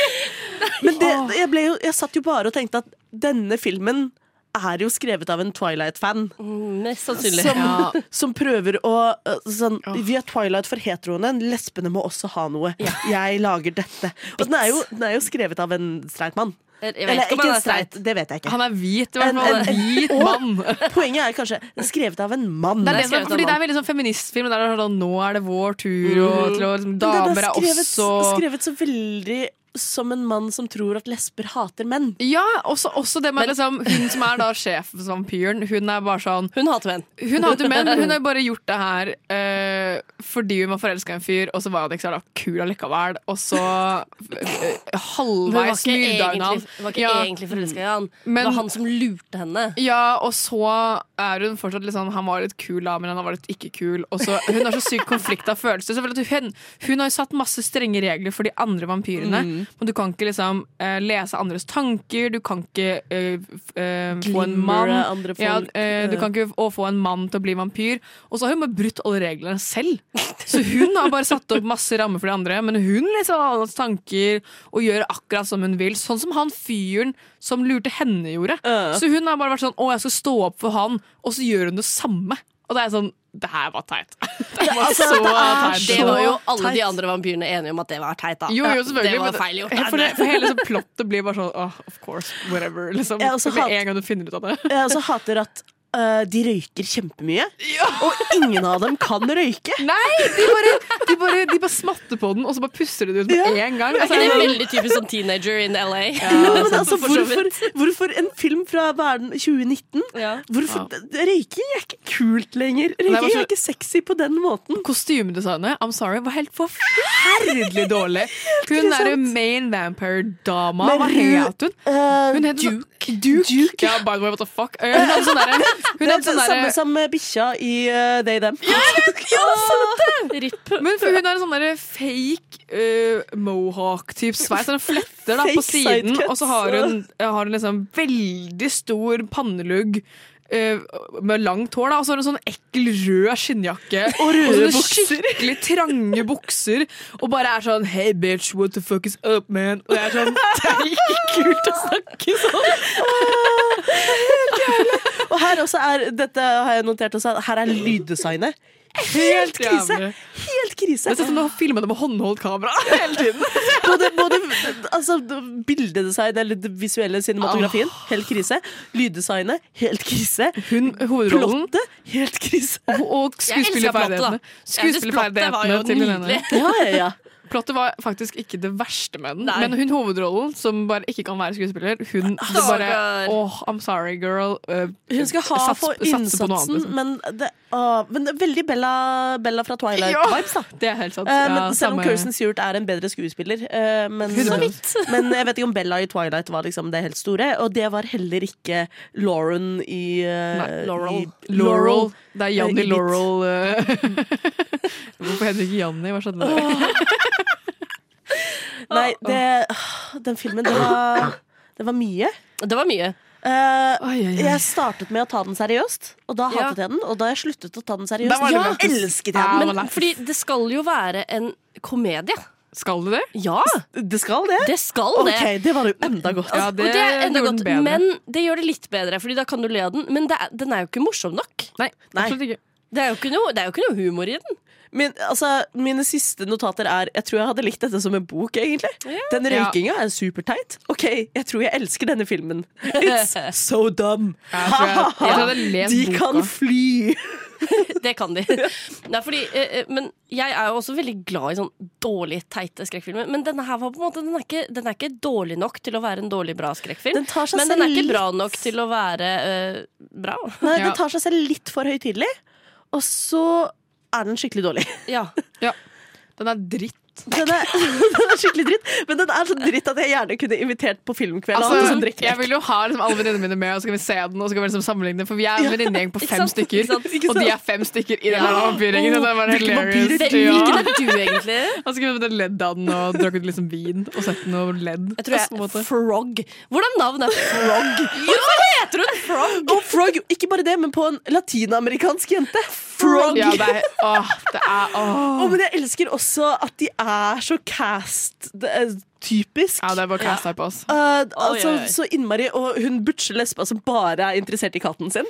B: Men det, jeg, ble jo, jeg satt jo bare og tenkte at denne filmen er jo skrevet av en Twilight-fan.
D: Mest sannsynlig.
B: Som, som prøver å øh, sånn, Vi er Twilight for heteroene. Lesbene må også ha noe. Jeg lager dette. Og den er jo, den er jo skrevet av en streit mann.
D: Jeg vet
B: Eller
D: ikke om
B: ikke
D: han
B: en
D: er streit.
B: streit, det vet jeg ikke.
C: Han er hvit, i hvert
B: En-
C: fall.
B: en-
C: En hvit mann.
B: Poenget er kanskje skrevet av en mann.
C: Det er, det,
D: skrevet
C: som er-
D: av
C: fordi det
D: mann.
C: er veldig sånn feministfilm. Der det er sånn, nå er det vår tur, og til å, liksom,
B: Men den
C: damer er
B: skrevet,
C: også
B: skrevet så veldig som en mann som tror at lesber hater menn.
C: ja, også, også det med liksom, hun som er da sjefsvampyren, hun er bare sånn
D: Hun hater menn.
C: Hun hadde jo menn, hun har bare gjort det her eh, fordi hun var forelska i en fyr, og så var han ikke så jævla kul allikevel, og så eh,
D: Hun var
C: halvveis
D: ikke
C: myrda hun han.
D: egentlig, var ikke
C: Ja,
D: egentlig forelska i han.
C: Men-
D: det var han som lurte henne.
C: Ja, og så er hun fortsatt litt sånn Han var litt kul da, men han var litt ikke kul. Og så, hun har så syk konflikt av følelser. Så jeg føler at hun, hun har jo satt masse strenge regler for de andre vampyrene.
B: Mm.
C: Men du kan ikke liksom eh, lese andres tanker, du kan ikke eh, f- eh, få en mann
B: Glimre andre folk.
C: Ja, eh, Du kan ikke å få en mann til å bli vampyr. Og så har hun bare brutt alle reglene selv. Så hun har bare satt opp masse rammer for de andre, men hun leser alle hans tanker og gjør akkurat som hun vil. Sånn som han fyren som lurte henne, gjorde. Så hun har bare vært sånn 'Å, jeg skal stå opp for han', og så gjør hun det samme. Og det er sånn Det her var teit. Det var så teit.
D: altså, Det var jo alle de
B: teit.
D: andre vampyrene enige om at det var teit, da.
C: Jo, jo, selvfølgelig.
D: det
C: men
D: var feil gjort.
C: For, det, for hele så plottet blir bare sånn «Åh, of course, whatever. Liksom.
D: altså,
B: Jeg også
C: Med
B: hat-
C: en gang du finner ut av det.
B: Jeg også Eh, altså hater at øh, de røyker kjempemye, og ingen av dem kan røyke.
C: Nei! De bare, de bare, de bare smatter på den, og så bare puster de det ut med
B: Ja.
C: en gang. Altså,
D: Det er veldig typisk sånn teenager in LA.
B: Ja, men altså,
D: For så
B: hvorfor, hvorfor en film fra hva er den, 2019?
D: Ja.
B: Hvorfor, Røyking er ikke kult lenger. Røyking
C: så-
B: er ikke sexy på den måten.
C: Kostymedesignet I'm sorry, var helt forferdelig dårlig. Hun er jo main vampire-dama.
B: Men
C: Hva
B: hun-
C: het hun?
B: Eh,
C: Hun het Duke. Duke. Ja, by the way, what the fuck? Eh, Hun hadde sånn derre
B: det
C: Hun
B: er
C: hadde
B: det
C: sånn
B: samme
C: derre
B: som eh, bikkja i eh, They Them.
D: Ripp.
C: men for hun har en sånn derre fake eh, mohawk-type sveis. Sånn fletter da på
B: Fake
C: siden,
B: sidecuts.
C: og så har hun, har hun liksom veldig stor pannelugg. eh, med langt hår, da og så har hun sånn ekkel rød skinnjakke. Og
B: røde
C: sånne Skikkelig trange bukser. Og bare er sånn Hey bitch, what the fuck is up, man? Og jeg er sånn Det er ikke kult å snakke sånn!
B: Og her også er, dette har jeg notert også, at her er lyddesignet. Helt krise!
C: jævlig.
B: Helt
C: Det
B: krise.
C: er sånn som du har filma det med håndholdt kamera hele tiden.
B: Både, både altså, bildedesign, eller det visuelle cinematografien, helt krise. Lyddesignet, helt krise.
C: Hun, hovedrollen
B: Plottet, helt krise.
C: og
D: Jeg elsker plottet,
C: skuespillerferdighetene.
D: da. Jeg synes plottet var jo
C: Skuespillerferdighetene til Helene.
D: nydelig.
B: Ja, ja, ja.
C: Plottet var faktisk ikke det verste med den,
D: Nei.
C: men hun hovedrollen, som bare ikke kan være skuespiller, hun det bare
D: Stakkar.
C: Åh, I'm sorry, girl. eh,
B: Hun skal ha
C: sats-
B: for
C: satse på noe annet,
B: innsatsen,
C: liksom.
B: men, det, ah, men det er veldig Bella, Bella fra Twilight-vibes. da.
C: Det er helt sant.
B: Eh, men
C: Ja,
B: selv om
C: samme-
B: Kirsten Stewart er en bedre skuespiller. eh, men,
C: Så
B: men jeg vet ikke om Bella i Twilight var liksom det helt store. Og det var heller ikke Lauren i, eh,
C: Nei,
B: i
C: Laurel. Det
B: Eh,
C: er
B: i
C: Janni
B: litt.
C: Laurel. eh. Hvorfor heter hun ikke Janni? Hva skjedde med det? Ah,
B: Nei, det, ah, den filmen, det var, det var mye.
D: Det var mye.
B: Eh,
C: Oi, oi, oi.
B: jeg startet med å ta den seriøst, og da
D: Ja.
B: hatet jeg den. Og da jeg sluttet å ta den seriøst,
C: Da var det
B: ja,
C: lettest.
B: elsket
C: Ja,
B: jeg den.
C: men
D: Men, fordi det skal jo være en komedie.
C: Skal du det?
D: Ja,
B: Men det skal det?
D: det skal det.
B: Ok, det var jo enda godt.
C: Ja,
D: Og det er enda
C: gjorde
D: godt,
C: den bedre.
D: men det gjør det litt bedre, Fordi da kan du le av den. Men det er, den er jo ikke morsom nok.
C: Nei, absolutt ikke.
D: Det er jo ikke noe, det er jo ikke noe humor i den.
B: Min, altså, mine siste notater er Jeg tror jeg hadde likt dette som en bok, egentlig. Den
C: Ja.
B: røykinga er superteit. OK, jeg tror jeg elsker denne filmen. It's so dumb.
C: Jeg tror jeg, jeg, tror jeg hadde lest
B: De
C: boka.
B: kan fly!
D: Det kan de. Nei, fordi, eh, eh, men jeg er jo også veldig glad i sånn dårlig teite skrekkfilmer. Men denne her var på en måte, den er, ikke, den er ikke dårlig nok til å være en dårlig bra skrekkfilm.
B: Den tar seg
D: Men den er
B: selv
D: ikke
B: litt-
D: bra nok til å være eh, bra.
B: Nei,
C: Ja.
B: Den tar seg selv litt for høytidelig, og så er den skikkelig dårlig.
D: Ja.
C: Den er dritt.
A: dritt.
B: Den er, den er skikkelig dritt, men den er så dritt at jeg gjerne kunne invitert på filmkveld. av alle som
C: Altså,
B: drikker
C: jeg vil jo ha liksom, alle venninnene mine med, og så kan vi se den. Og så kan vi liksom sammenligne den, For vi er en venninnegjeng på
D: ikke
C: fem
D: sant?
C: stykker,
D: Ikke sant? Ikke
C: og de
D: sant?
C: er fem stykker i den her vampyrgjengen. og Det var
B: Hvilke
C: hilarious.
B: vampyrer?
C: Ja.
D: Hvilken er du, egentlig?
C: Og så kunne vi ledd av den og drukket liksom vin og sett noe ledd.
D: Jeg tror
C: på en
D: jeg
C: måte.
D: er Frog. Hvordan navn er Frog? Hvorfor heter hun Frog?
B: Og Frog, ikke bare det, men på en latinamerikansk jente. Frog!
C: Ja, det er, åh, det er, åh.
B: Å, men jeg elsker også at de er så cast det er typisk.
C: ja, det er bare cast her på oss.
B: Eh, altså,
D: Oi, oi, oi.
B: Så innmari Og hun butche lesba som bare er interessert i katten sin.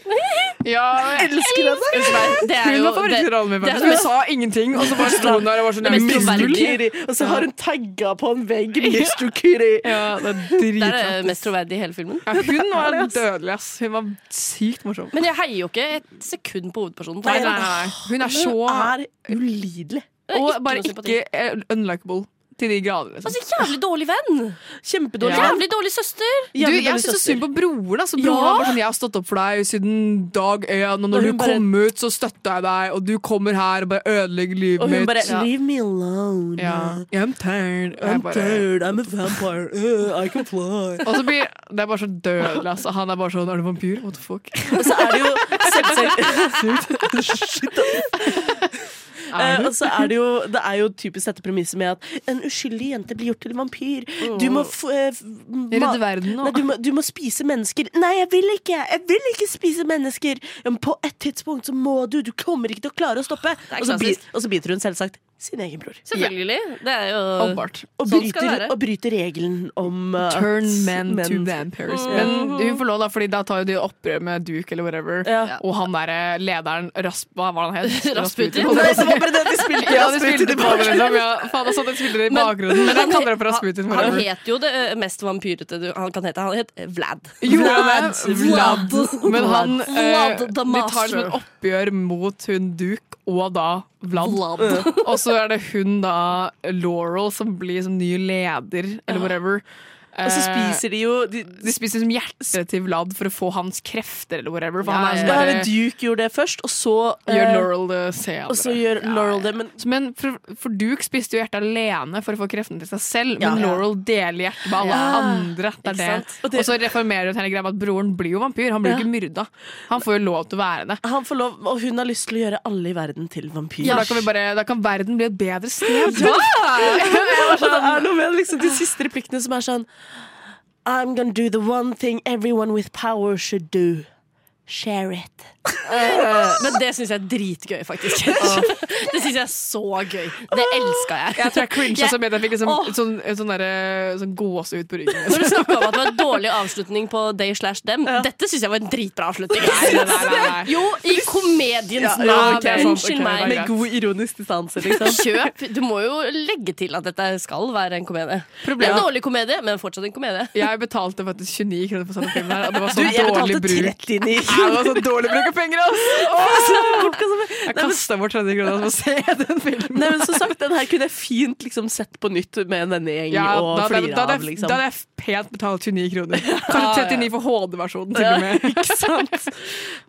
C: Ja, jeg
B: Elsker henne!
D: Det er
C: Hun
D: jo
C: var favorittrollen min,
D: det er
C: faktisk. Hun
D: det-
C: sa ingenting, og så bare sto hun der og var sånn
D: Mr.
C: misunnelige.
B: Kitty. Og så har hun tagga på en vegg Mr. Kitty.
C: Ja, det er
D: Det er det
C: dritfett.
D: mest troverdige i hele filmen.
C: Ja, hun var dødelig, ass. Hun var sykt morsom.
D: Men jeg heier jo ikke et sekund på hovedpersonen.
C: Nei, nei, nei. Hun er så
B: Hun er ulidelig.
C: Og
D: Ikke
C: bare
D: noe sympati.
C: ikke eh, unlikable til de grader, liksom.
D: Altså, jævlig dårlig venn!
B: Kjempedårlig.
C: Ja.
D: Jævlig dårlig søster!
C: Du,
B: Jævlig
C: jeg
B: dårlig
C: syns så
B: søster.
C: synd på broren. Altså. Broren var bare sånn, 'Jeg har stått opp for deg siden dag én, og når
B: hun
C: du
B: bare-
C: kom ut, så støtta jeg deg, og du kommer her og bare ødelegger livet
B: Og hun
C: mitt'.
B: bare
D: Ja.
B: Leave me alone.
C: Ja. I'm tired. Og jeg
B: I'm
C: bare-
B: tired. I'm a vampire. Uh, I can fly.
C: Og så blir Det er bare så dødelig, altså. Han er bare sånn 'Er du vampyr?' What the fuck?
B: Og så er det jo selvsagt Shit, ass. Eh, og så er det, jo, det er jo typisk dette premisset med at en uskyldig jente blir gjort til vampyr. Du må f eh, f- ma-
C: Redde verden nå.
B: Nei, du, må, du må spise mennesker. Nei, jeg vil ikke! Jeg vil ikke spise mennesker! Ja, men på et tidspunkt så må du! Du kommer ikke til å klare å stoppe!
D: er
B: Og så, bi
D: klassisk.
B: og så biter hun selvsagt sin egen bror.
D: Selvfølgelig. Det er jo
C: Åpenbart.
B: Og
D: Sånn skal
B: bryter,
D: det være.
B: og bryter regelen om eh, at
C: Turn men, to
B: menn-
C: vampires. Men hun får lov, da, Fordi da tar jo de opprør med Duke eller whatever.
B: Ja.
C: Og han derre lederen Rasp... Hva var han het?
D: Rasputin.
B: Nei, det var bare det at de spilte
C: Ja, de spilte
B: det
C: på det, liksom. Ja, faen, altså, de spiller i bakgrunnen. Men jeg kaller det for Rasputin.
D: Han
C: forever.
D: het jo det ø, mest vampyrete du han kan hete. Han het Vlad.
C: Gjorde
B: Vlad.
C: det? Vlad. Men han
D: Vlad
C: eh,
D: the
C: Vi tar det som
D: Master.
C: et oppgjør mot hun Duke og da Vlad. Og så er det hun da Laurel som blir som ny leder, eller whatever. Eh,
B: Og så spiser de jo de,
C: de spiser som hjertet til Vlad for å få hans krefter, eller whatever. For han er
B: Ja, men
C: sånn der,
B: Duke gjorde det først, og så eh,
C: Gjør Laurel det
B: Og så
C: senere.
B: gjør Laurel det, men
C: Men for, for Duke spiste jo hjertet alene for å få kreftene til seg selv, men
B: Ja.
C: Laurel deler hjertet med alle
B: Ja.
C: andre. Det er det.
B: sant? Og
C: Og,
B: det-
C: så reformerer hun hele greia med at broren blir jo vampyr. Han blir jo ikke myrda. Han får jo lov til å være det.
B: han får lov, og hun har lyst til å gjøre alle i verden til vampyrer.
C: For da kan, vi bare, da kan verden bli et bedre sted.
B: Og det er noe med liksom, de siste replikkene som er sånn I'm gonna do the one thing everyone with power should do. Share it.
D: Eh, Men det syns jeg er dritgøy, faktisk. Det syns jeg er så gøy. Det elska jeg.
C: Jeg tror jeg crincha så mye at jeg fikk liksom,
D: Åh.
C: sånn, sånn, derre- sånn gåsehud på ryggen.
D: Når du snakka om at det var en dårlig avslutning på They slash Them, dette syns jeg var en dritbra avslutning.
C: Nei, nei, nei, nei, nei.
D: Jo, i komediens
B: Ja, sånn, ja,
D: navn.
C: sånn, ok, sant,
D: Unnskyld
C: ok,
D: meg.
C: greit.
B: Med god ironisk distanse, liksom.
D: Kjøp. Du må jo legge til at dette skal være en komedie.
C: Problemet-
D: En dårlig komedie, men fortsatt en komedie.
C: Jeg betalte faktisk 29 kroner for å se den filmen her, og det var
B: Du,
C: sånn
B: jeg
C: dårlig
B: betalte
C: bruk.
B: 39
C: Nei, det var sånn dårlig bruk av penger, ass! Åh! Jeg kasta bort 30 kroner altså, for å se den filmen.
B: Nei, men som sagt, den her kunne jeg fint liksom, sett på nytt med en vennegjeng
C: Ja,
B: og
C: da, da,
B: flire
C: da, da,
B: av, liksom.
C: da hadde jeg pent betalt 29 kroner. Kanskje 39 for HD-versjonen, til og med.
B: Ikke sant?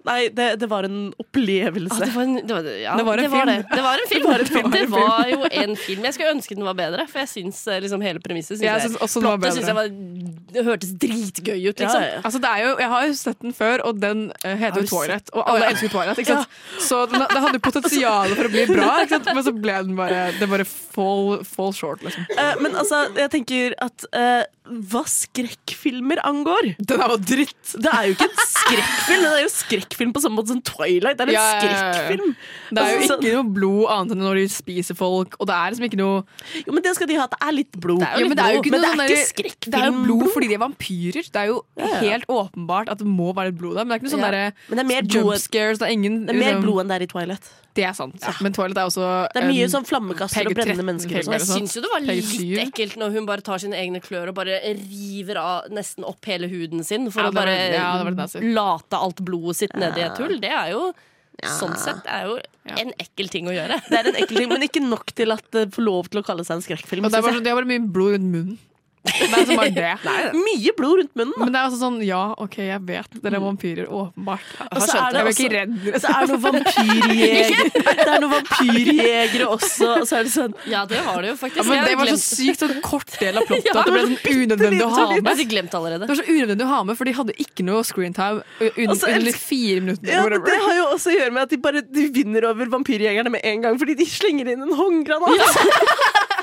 B: Nei, det, det var en
D: Å,
B: opplevelse.
D: Ah, det, var en, det, var, ja,
C: Det var en
D: det
C: film.
D: var det. Det var en film.
C: en film.
D: Det var jo en film. Jeg skulle ønske den var bedre, for jeg syns eh, liksom, hele premisset synes
C: Jeg
D: jeg-
C: synes også den var bedre.
D: plottet synes jeg var- Det hørtes dritgøy ut, liksom.
B: Ja, ja.
C: Altså, det er jo, jeg har jo sett den før, og den eh, heter
B: Har
C: jo
B: du
C: Toilet. Og alle elsker jo Toilet, ikke sant? Så den, den hadde jo potensial for å bli bra, ikke sant? men så ble den bare Det bare fall, fall short, liksom.
B: Eh, men altså, jeg tenker at eh, hva skrekkfilmer angår
C: Den er jo dritt!
B: Det er jo ikke en skrekkfilm, det er jo skrekkfilm på samme måte som Twilight. Det er en
C: Ja, ja, ja, ja.
B: skrekkfilm
C: Det er jo
B: Altså,
C: ikke noe blod annet enn når de spiser folk, og det er liksom ikke noe
B: Jo, men det skal de ha. at Det er litt blod.
C: Ja, men det er jo ikke,
B: men det
C: noe
B: er ikke
C: sånn der-
B: skrekkfilm.
C: Det er jo blod fordi de er vampyrer. Det er jo helt åpenbart at det må være litt blod der, men det er ikke noe sånn
B: Ja.
C: derre
B: Men det er mer blod,
C: jump scares. Det er ingen
B: det er mer
C: liksom-
B: blod enn det er i Twilight.
C: Det er sant. Men Toilet er også
B: Det er mye
C: en-
B: sånn flammekaster og brennende
C: PG-13
B: mennesker. Og sånn.
C: filmer
D: Jeg
C: og sånt.
D: syns jo det var
C: Peggy
D: litt
C: Sue.
D: ekkelt når hun bare tar sine egne klør og bare river av nesten opp hele huden sin for
C: Ja,
D: å
C: det var-
D: bare
C: ja, det var litt nasty.
D: late alt blodet sitt nedi et hull. Det er jo sånn sett det er jo en ekkel ting å gjøre.
B: Det er en ekkel ting, men ikke nok til at det får lov til å kalle seg en skrekkfilm.
C: Og det er
B: synes
C: bare, sånn- de har bare mye blod rundt munnen. Det er som bare det.
B: Mye blod rundt munnen. da.
C: Men det er også sånn, ja, ok, jeg vet, dere er vampyrer, åpenbart.
B: Og så er det
C: jeg var
B: også-
C: ikke redd.
B: Det er noen vampyrjegere Det er noen vampyrjegere også. Og så er det sånn
D: Ja, det var det jo faktisk.
C: Ja, men
D: jeg
C: det
D: hadde
C: var så sykt
D: glemt-
C: sånn kort del av plottet
B: Ja, det
C: at det ble
B: var
C: sånn unødvendig å ha
D: Jeg
C: med.
D: hadde glemt allerede.
C: Det var så unødvendig å ha med, for de hadde ikke noe screentime under,
B: Og så
C: under
B: elsker-
C: fire minutter.
B: Altså, ja, men
C: whatever.
B: Det har jo også å gjøre med at de bare de vinner over vampyrjegerne med en gang fordi de slenger inn en håndgranat.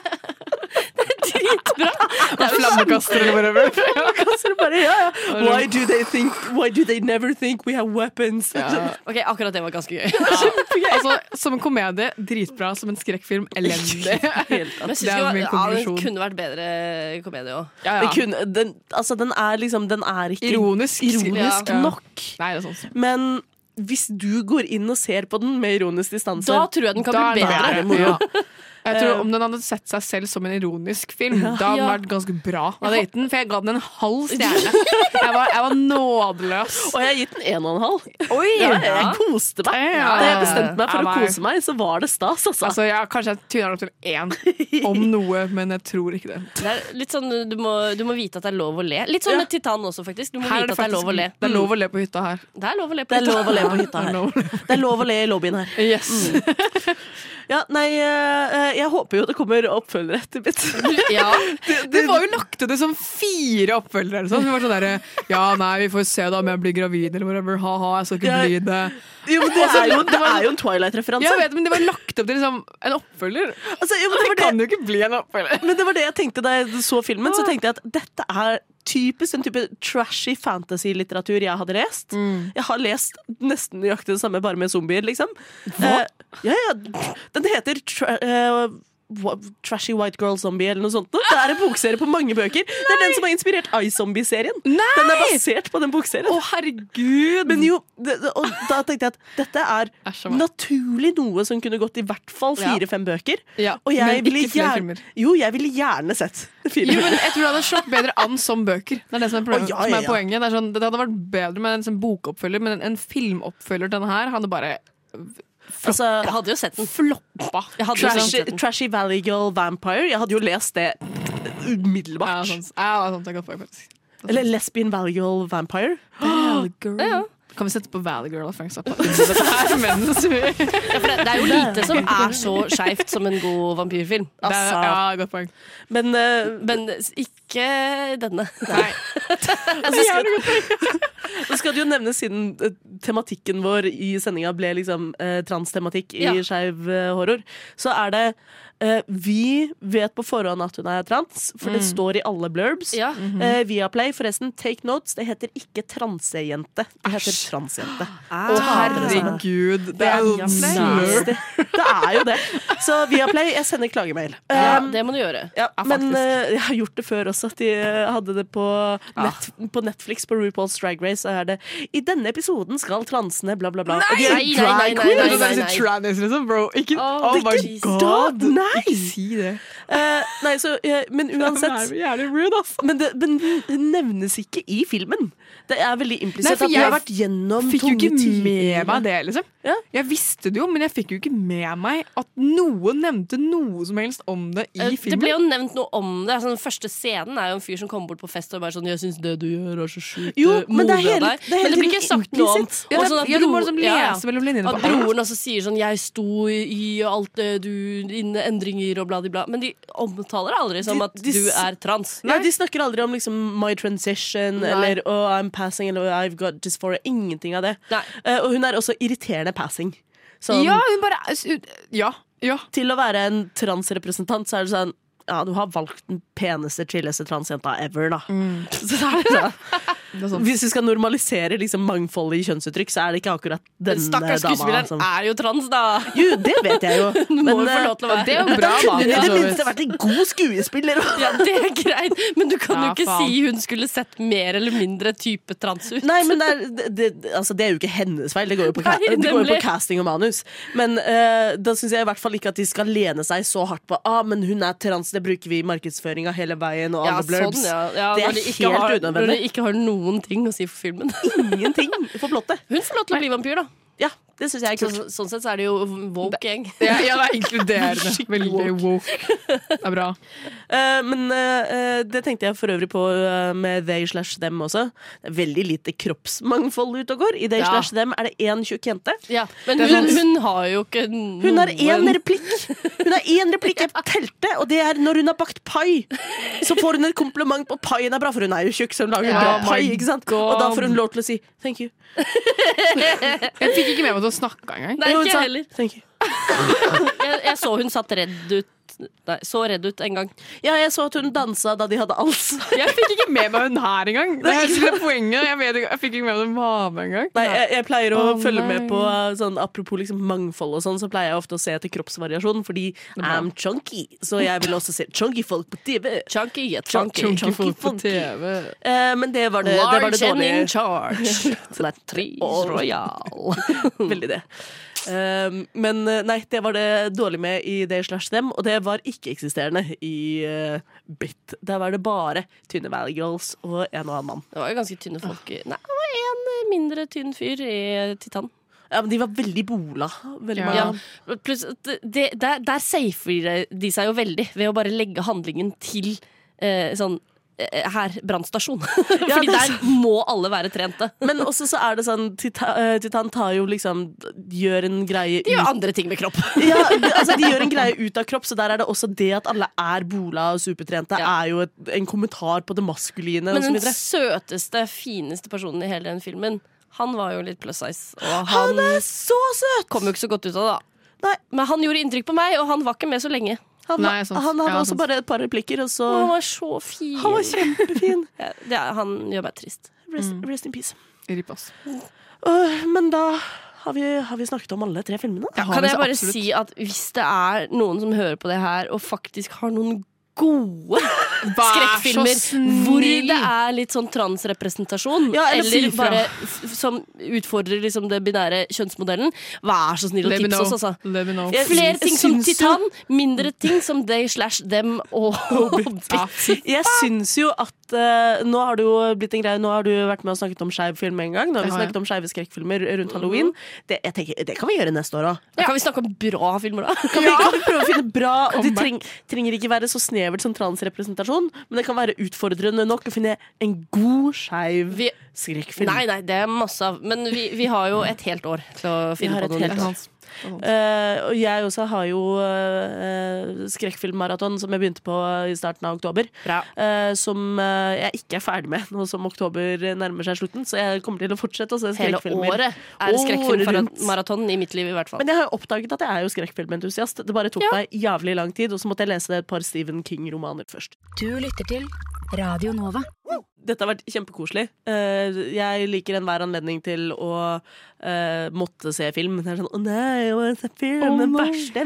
C: Flammekaster eller whatever.
B: Og så er det bare, ja, ja.
C: sånn.
B: Why do they think Why do they never think we have weapons? Det er sånn,
D: Ok, Akkurat det var ganske gøy.
C: Altså, som en komedie, dritbra. Som en skrekkfilm, elendig.
D: Men jeg synes
C: Det er
D: jo-
C: min
D: Ja,
C: konklusjon.
D: det kunne vært bedre komedie òg.
C: Ja,
B: det
C: ja.
B: kunne, den, altså, den er liksom Den er ikke
C: Ironisk.
B: ironisk
C: Ja.
B: nok.
C: Nei, det er sånn.
B: Men hvis du går inn og ser på den med ironisk distanse
D: Da tror jeg den kan
C: Da
D: bli
C: er det
D: bedre.
C: bedre. Ja. Jeg
B: Eh.
C: tror Om den hadde sett seg selv som en ironisk film, da hadde den
D: Ja.
C: vært ganske bra. Da hadde jeg gitt den, For jeg ga den en halv stjerne. Jeg var, jeg var nådeløs.
B: Og jeg har gitt den en og en halv.
C: Oi!
B: Ja, jeg koste meg. Da
C: Ja.
B: jeg bestemte meg for å
C: Ja, nei.
B: kose meg, så var det stas, altså.
C: Altså, jeg, kanskje jeg tuner opp til én om noe, men jeg tror ikke det.
D: Det er litt sånn, du må, du må vite at det er lov å le. Litt sånn med Titan også, faktisk. Du må
C: Her
D: vite at det er lov å le.
C: det er lov å le på hytta her.
D: Det er lov å le på
B: det er lov å le på
C: Det
B: hytta
C: er
B: her.
C: lov å le.
B: Det er lov å le i lobbyen her.
C: Yes.
B: Ja, nei, eh, jeg håper jo det kommer oppfølgere etter mitt.
D: Ja,
C: Det var jo lagt ut som fire oppfølgere. eller sånn. Vi var sånn derre Ja, nei, vi får se da om jeg blir gravid eller whatever. Ha-ha, jeg skal ikke
B: Ja.
C: bli det.
B: Jo, Altså, men det er jo, det er jo en Twilight-referanse.
C: Jeg vet, men det var lagt opp til liksom en oppfølger.
B: Altså, jo, men det
C: Det
B: var det
C: kan jo ikke bli en oppfølger.
B: Men det var det jeg tenkte da jeg så filmen. Så tenkte jeg at dette er typisk en type trashy fantasy-litteratur jeg hadde lest. Jeg har lest nesten nøyaktig det samme, bare med zombier, liksom. Eh, ja, ja. Den heter tra eh, wha- Trashy White Girl Zombie eller noe sånt. noe. Det er en bokserie på mange bøker. Det er den som har inspirert iZombie-serien. Den er basert på den bokserien.
C: Å, herregud!
B: Men jo, det, det- og da tenkte jeg at dette er
C: Æsj, hva?
B: naturlig noe som kunne gått i hvert fall
C: Ja.
B: fire-fem bøker.
C: Ja,
B: og jeg
C: men
B: ville
C: ikke flere
B: gjerne-
C: filmer.
B: Jo, jeg ville gjerne sett
C: Jo,
B: filmer.
C: men jeg tror det hadde slått bedre an som bøker. Det er det som er,
B: Å,
C: problemet,
B: ja, ja,
C: som er
B: ja.
C: poenget. Det, er sånn, det hadde vært bedre med en sånn bokoppfølger, men en, en filmoppfølger til denne her hadde bare
D: jeg
B: Altså,
D: hadde jo sett den.
C: floppa.
D: Jeg hadde jo
C: sånn-
B: trashy,
D: sett den.
B: trashy Valley Girl Vampire. Jeg hadde jo lest det
C: Ja,
B: umiddelbart.
C: sånn, ja, sånn, jeg kan få, faktisk.
B: Eller Lesbian Valley Girl Vampire.
D: Ja, ja.
C: Kan vi sette på Valley Girl og Frank Zappa? Dette her mens vi det er,
D: Ja, for det, det er jo lite som er så skeivt som en god vampyrfilm. Altså.
C: Ja, godt poeng.
B: Men eh,
D: Men ikke denne.
C: Nei.
B: altså, skal, så skal det jo nevnes siden eh, tematikken vår i sendinga ble liksom eh, transtematikk i
D: Ja.
B: skeiv eh, horror, så er det eh, Vi vet på forhånd at hun er trans, for
C: Mm.
B: det står i alle blurbs.
D: Ja.
B: Eh, Viaplay, forresten, take notes. Det heter ikke transejente. Det heter transjente.
C: Å, herregud. Det er jo slør.
B: Nasty. Det er jo det. Så Viaplay, jeg sender klagemail.
D: Ja,
B: Um,
D: det må du gjøre.
B: ja,
C: Ja,
B: men
C: faktisk.
B: eh, jeg har gjort det før også. At de eh, hadde det på,
D: Ah.
B: net, på Netflix, på RuPaul's Drag Race. Så er det 'I denne episoden skal transene bla, bla, bla'. Og de er
D: Nei, nei,
B: drag
D: nei, nei,
B: queens.
D: nei,
C: Det er
D: nei.
C: sånn trannies, liksom, bro. Ikke,
D: Å,
C: oh my
B: ikke
C: god.
B: da, nei.
C: Ikke si det.
B: Eh, nei, så, eh, men
C: Det er
B: uansett
C: jo jævlig rude, ass.
B: men det, men det nevnes ikke i filmen. Det er veldig
C: Nei,
B: implisitt
C: for
B: at vi har
C: jeg
B: vært gjennom
C: Fikk jo
B: tunge
C: ikke
B: tider.
C: med meg det, liksom.
B: Ja.
C: Jeg visste det jo, men jeg fikk jo ikke med meg at noen nevnte noe som helst om det i
D: Eh, Det ble
C: filmen.
D: jo nevnt noe om det. Altså, den første scenen er jo en fyr som kommer bort på fest og bare sånn 'Jeg syns det du gjør, er så sjukt
B: Jo,
D: eh,
B: men det er
D: modig av
B: hele-
D: deg.»
B: det er hele
D: Men det blir
B: tiden
D: ikke sagt noe om.
B: implisitt.
C: Ja,
D: Og
C: det,
D: sånn at
C: ja, du må
D: bro-
C: liksom
D: ja, ja.
C: lese mellom linjene.
D: At
C: på alt.
D: broren også sier sånn 'jeg sto i alt det du Innen endringer og bla, di, bla. Men de omtaler det aldri som
B: De-
D: at
B: de
D: du
B: s-
D: er trans.
B: Nei, De snakker aldri om liksom, 'my transition'
D: Nei.
B: eller oh, 'I'm passing' eller oh, 'I've got dysphoria'. Ingenting av det.
D: Nei.
B: Eh, og hun er også irriterende passing. Sånn,
C: Ja, hun bare Ja. ja.
B: til å være en transrepresentant, så er det sånn ja, du har valgt den peneste, chilleste transjenta ever, da. Så det er det sånn.
C: Mm. Det er sånn.
B: Hvis du skal normalisere liksom, mangfoldet i kjønnsuttrykk, så er det ikke akkurat denne eh,
D: Den
B: dama. sånn.
D: stakkars skuespilleren
B: som-
D: er jo trans, da!
B: Jo, det vet jeg jo.
D: Må jo få
B: eh,
D: lov til å være
C: Det er jo bra,
B: kunne hun i
C: da. for
B: det
C: så
B: minste
C: vidt.
B: vært en god skuespiller.
D: Ja, det er greit, men du kan
C: Ja,
D: jo ikke
C: faen.
D: si hun skulle sett mer eller mindre type trans ut.
B: Nei, men det er, det, det, altså, det er jo ikke hennes feil. Det går jo på, ca-
D: Nei,
B: det går jo på
D: nemlig.
B: casting og manus. Men eh, da syns jeg i hvert fall ikke at de skal lene seg så hardt på ah, men hun er trans, det bruker vi i markedsføringa hele veien. Og
D: ja,
B: alle blurbs.
D: sånn, ja.
B: Det er
D: Ja, når de ikke
B: helt
D: har, Når
B: unødvendig.
D: de ikke har noen ting å si for filmen.
B: Ingenting for plottet.
D: Hun får lov til å bli vampyr, da.
B: Ja, Det syns jeg er
D: Så,
B: kult.
D: sånn sett så er det jo woke gjeng.
C: Ja, ja, det er inkluderende. Veldig woke. Det er bra.
B: Eh, men eh, eh, det tenkte jeg for øvrig på eh, med they slash them også. Det er veldig lite kroppsmangfold ute og går. I they
D: Ja.
B: slash them er det én tjukk jente.
D: Ja, men
C: Det er
D: hun,
C: sant.
D: hun sånn- har jo ikke noen
B: Hun har én replikk! Hun har én replikk Jeg telte, og det er når hun har bakt pai. Så får hun et kompliment på at paien er bra, for hun er jo tjukk, så hun lager
C: Ja,
B: bra pai.
C: my
B: Ikke sant?
C: God.
B: Og da får hun lov til å si thank you.
C: Jeg fikk ikke med meg at hun snakka engang.
D: Nei,
B: Jo, hun
D: ikke
B: sa,
D: jeg heller.
B: Thank you.
D: Jeg, jeg så hun satt redd ut. Nei, så redd ut en gang.
B: Ja, jeg så at hun dansa da de hadde alsa.
C: Jeg fikk ikke med meg hun her engang. Det er hele poenget. Jeg, vet, ikke- jeg fikk ikke med meg hun var med engang.
B: Nei, jeg, jeg pleier å
C: Å,
B: følge
C: nei.
B: med på uh, sånn, Apropos liksom mangfold og sånn, så pleier jeg ofte å se etter kroppsvariasjon, fordi I'm chunky, så jeg vil også se chunky folk på TV.
D: Chunky, yeah,
B: Chunky.
D: chunky.
C: Chunky folk på
B: funky.
C: TV.
B: Eh, men det var det, det, var det
D: Large and in
B: dårlige.
D: charge. Latrice royal.
B: Veldig det. Um, men eh, nei, det var det dårlig med i det slash dem, og det var ikke-eksisterende i eh, Bit. Der var det bare tynne Valley Girls og en og annen mann.
D: Det var jo ganske tynne folk. i- Nei, det var en eh, mindre tynn fyr i Titan.
B: Ja, men de var veldig bola. Veldig
C: Ja.
B: mange.
D: Ja. Pluss, at det, der, der safer de seg jo veldig ved å bare legge handlingen til eh, sånn eh, her, brannstasjon. Fordi
B: det er
D: der må alle være trente.
B: Men også så er det sånn Titan, eh, Titan tar jo liksom Gjør en greie ut
D: andre ting med kropp.
B: ja, det- altså, De gjør en greie ut av kropp, så der er det også det at alle er bola og supertrente,
D: Ja.
B: er jo et, en kommentar på det maskuline.
D: Men
B: og så
D: den
B: videre.
D: søteste, fineste personen i hele den filmen, han var jo litt plus size. Og han,
B: Det er så søt!
D: kom jo ikke så godt ut av det, da.
B: Nei.
D: Men han gjorde inntrykk på meg, og han var ikke med så lenge.
B: Han,
C: Nei, sant.
B: han hadde
C: Ja,
B: også
C: sant.
B: bare et par replikker, og så
D: Og han var så fin.
B: Han var kjempefin.
D: Ja, det er, han gjør meg trist.
B: Rest, rest in peace.
C: Rip, ass.
B: Øh, Mm. men da har vi, har vi snakket om alle tre filmene.
C: Ja,
D: Kan
C: men
D: jeg
C: så
D: bare
C: absolutt.
D: si at hvis det er noen som hører på det her, og faktisk har noen gode
C: Vær så
D: skrekkfilmer hvor
C: snill.
D: det er litt sånn transrepresentasjon,
B: Ja, eller
D: eller,
B: si fra.
D: bare f- som utfordrer liksom det binære kjønnsmodellen, vær så snill å
C: Let me
D: tipse
C: know.
D: oss, altså.
C: Let me know.
B: Jeg-
D: Flere ting som
B: syns jo-
D: Titan, mindre ting som they slash them og Hobbit.
C: Ja, fy
B: Jeg syns jo at eh, Nå har det jo blitt en greie Nå har du vært med og snakket om skeiv film en gang. Nå har Mm.
C: Det
B: vi
C: har jeg.
B: snakket om skeive skrekkfilmer rundt halloween. Det, jeg tenker, det kan vi gjøre neste år òg.
D: Da kan vi snakke om bra filmer, da.
B: Kan, vi- kan vi prøve å finne bra Det
C: Comeback.
B: treng, trenger ikke være så snevert som transrepresentasjon, men det kan være utfordrende nok å finne en god skeiv
D: Vi,
B: skrekkfilm.
D: nei, nei, det er masse av Men vi, vi har jo et helt år til å
B: Vi
D: finne
B: har
D: på
B: et
D: noe
B: helt
D: nytt.
B: år.
C: Hans.
B: Eh, og jeg også har jo uh, skrekkfilmmaraton som jeg begynte på eh, i starten av oktober.
D: Bra.
B: eh, som eh, jeg ikke er ferdig med nå som oktober nærmer seg slutten. Så jeg kommer til å fortsette å se
D: Hele
B: skrekkfilmer.
D: året er det
B: Året rundt.
D: skrekkfilmmaraton i mitt liv, i hvert fall.
B: Men jeg har jo oppdaget at jeg er jo skrekkfilmentusiast. Det bare tok meg jævlig lang tid, og så måtte jeg lese et par Stephen King-romaner først.
H: Du lytter til Radio Nova.
B: Dette har vært kjempekoselig. Eh, jeg liker enhver anledning til å eh, måtte se film. Det er sånn 'Å nei, å, se film'. Den verste jeg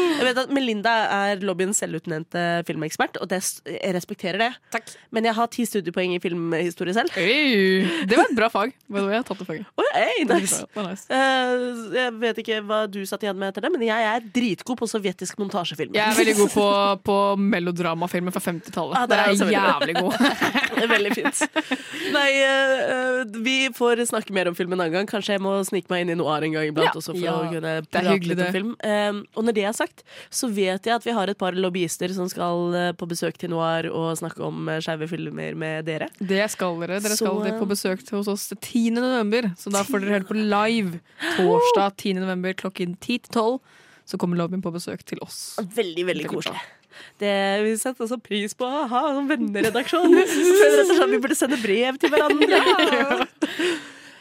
B: Jeg vet at Melinda er lobbyens selvutnevnte filmekspert, og det, s- jeg respekterer det.
D: Takk.
B: Men jeg har ti studiepoeng i filmhistorie selv.
C: Øy, det var et bra fag. by the way. Jeg har tatt det faget.
B: Å, hey,
C: Det
B: nice.
C: var nice.
B: Eh, jeg vet ikke hva du satt igjen med etter det, men jeg er dritgod på sovjetisk montasjefilm.
C: Jeg er veldig god på, på melodramafilmer fra 50-tallet.
B: Ah, det
C: det
B: er
C: er
B: altså
C: jeg
B: veldig
C: jævlig god.
B: Det er Veldig fint. Nei, eh, eh, vi får snakke mer om film en annen gang. Kanskje jeg må snike meg inn i noir en gang iblant også for
D: Ja.
B: å kunne
C: Det er
B: prate
C: hyggelig,
B: litt om
C: det.
B: film. Eh, og når det er sagt, så vet jeg at vi har et par lobbyister som skal eh, på besøk til noir og snakke om uh, skeive filmer med dere.
C: Det skal dere. Dere
B: Så,
C: skal
B: eh,
C: dere på besøk til hos oss 10. november. Så da får dere høre på live torsdag 10. november klokken 10 til 12. Så kommer lobbyen på besøk til oss.
B: Veldig, veldig
C: Veldig
B: koselig.
C: bra.
B: Det, vi setter også pris på å ha en venneredaksjon. Føler rett og slett Vi burde sende brev til hverandre.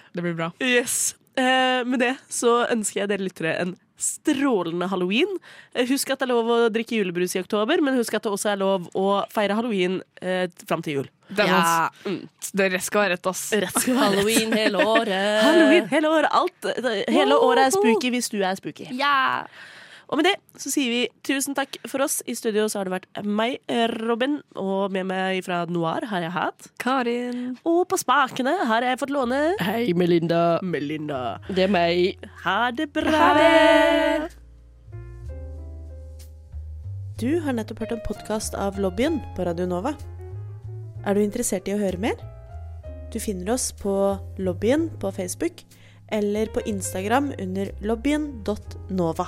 C: Det blir bra.
B: Yes. Eh, med det så ønsker jeg dere lyttere en strålende halloween. Eh, Husk at det er lov å drikke julebrus i oktober, men husk at det også er lov å feire halloween eh, fram til jul.
C: Det, er
D: Ja.
C: sant. Dere skal være rett, ass.
B: Rett skal være rett.
D: Halloween hele året.
B: Halloween, hele året, alt. eh, Hele året er spooky hvis du er spooky.
D: Ja.
B: Og med det så sier vi tusen takk for oss. I studio så har det vært meg, Robin, og med meg fra Noir har jeg hatt.
C: Karin.
B: Og på spakene har jeg fått låne
D: Hei, Melinda.
B: Melinda.
D: Det er meg.
B: Ha det bra!
A: Du har nettopp hørt en podkast av Lobbyen på Radio Nova. Er du interessert i å høre mer? Du finner oss på Lobbyen på Facebook eller på Instagram under lobbyen.nova.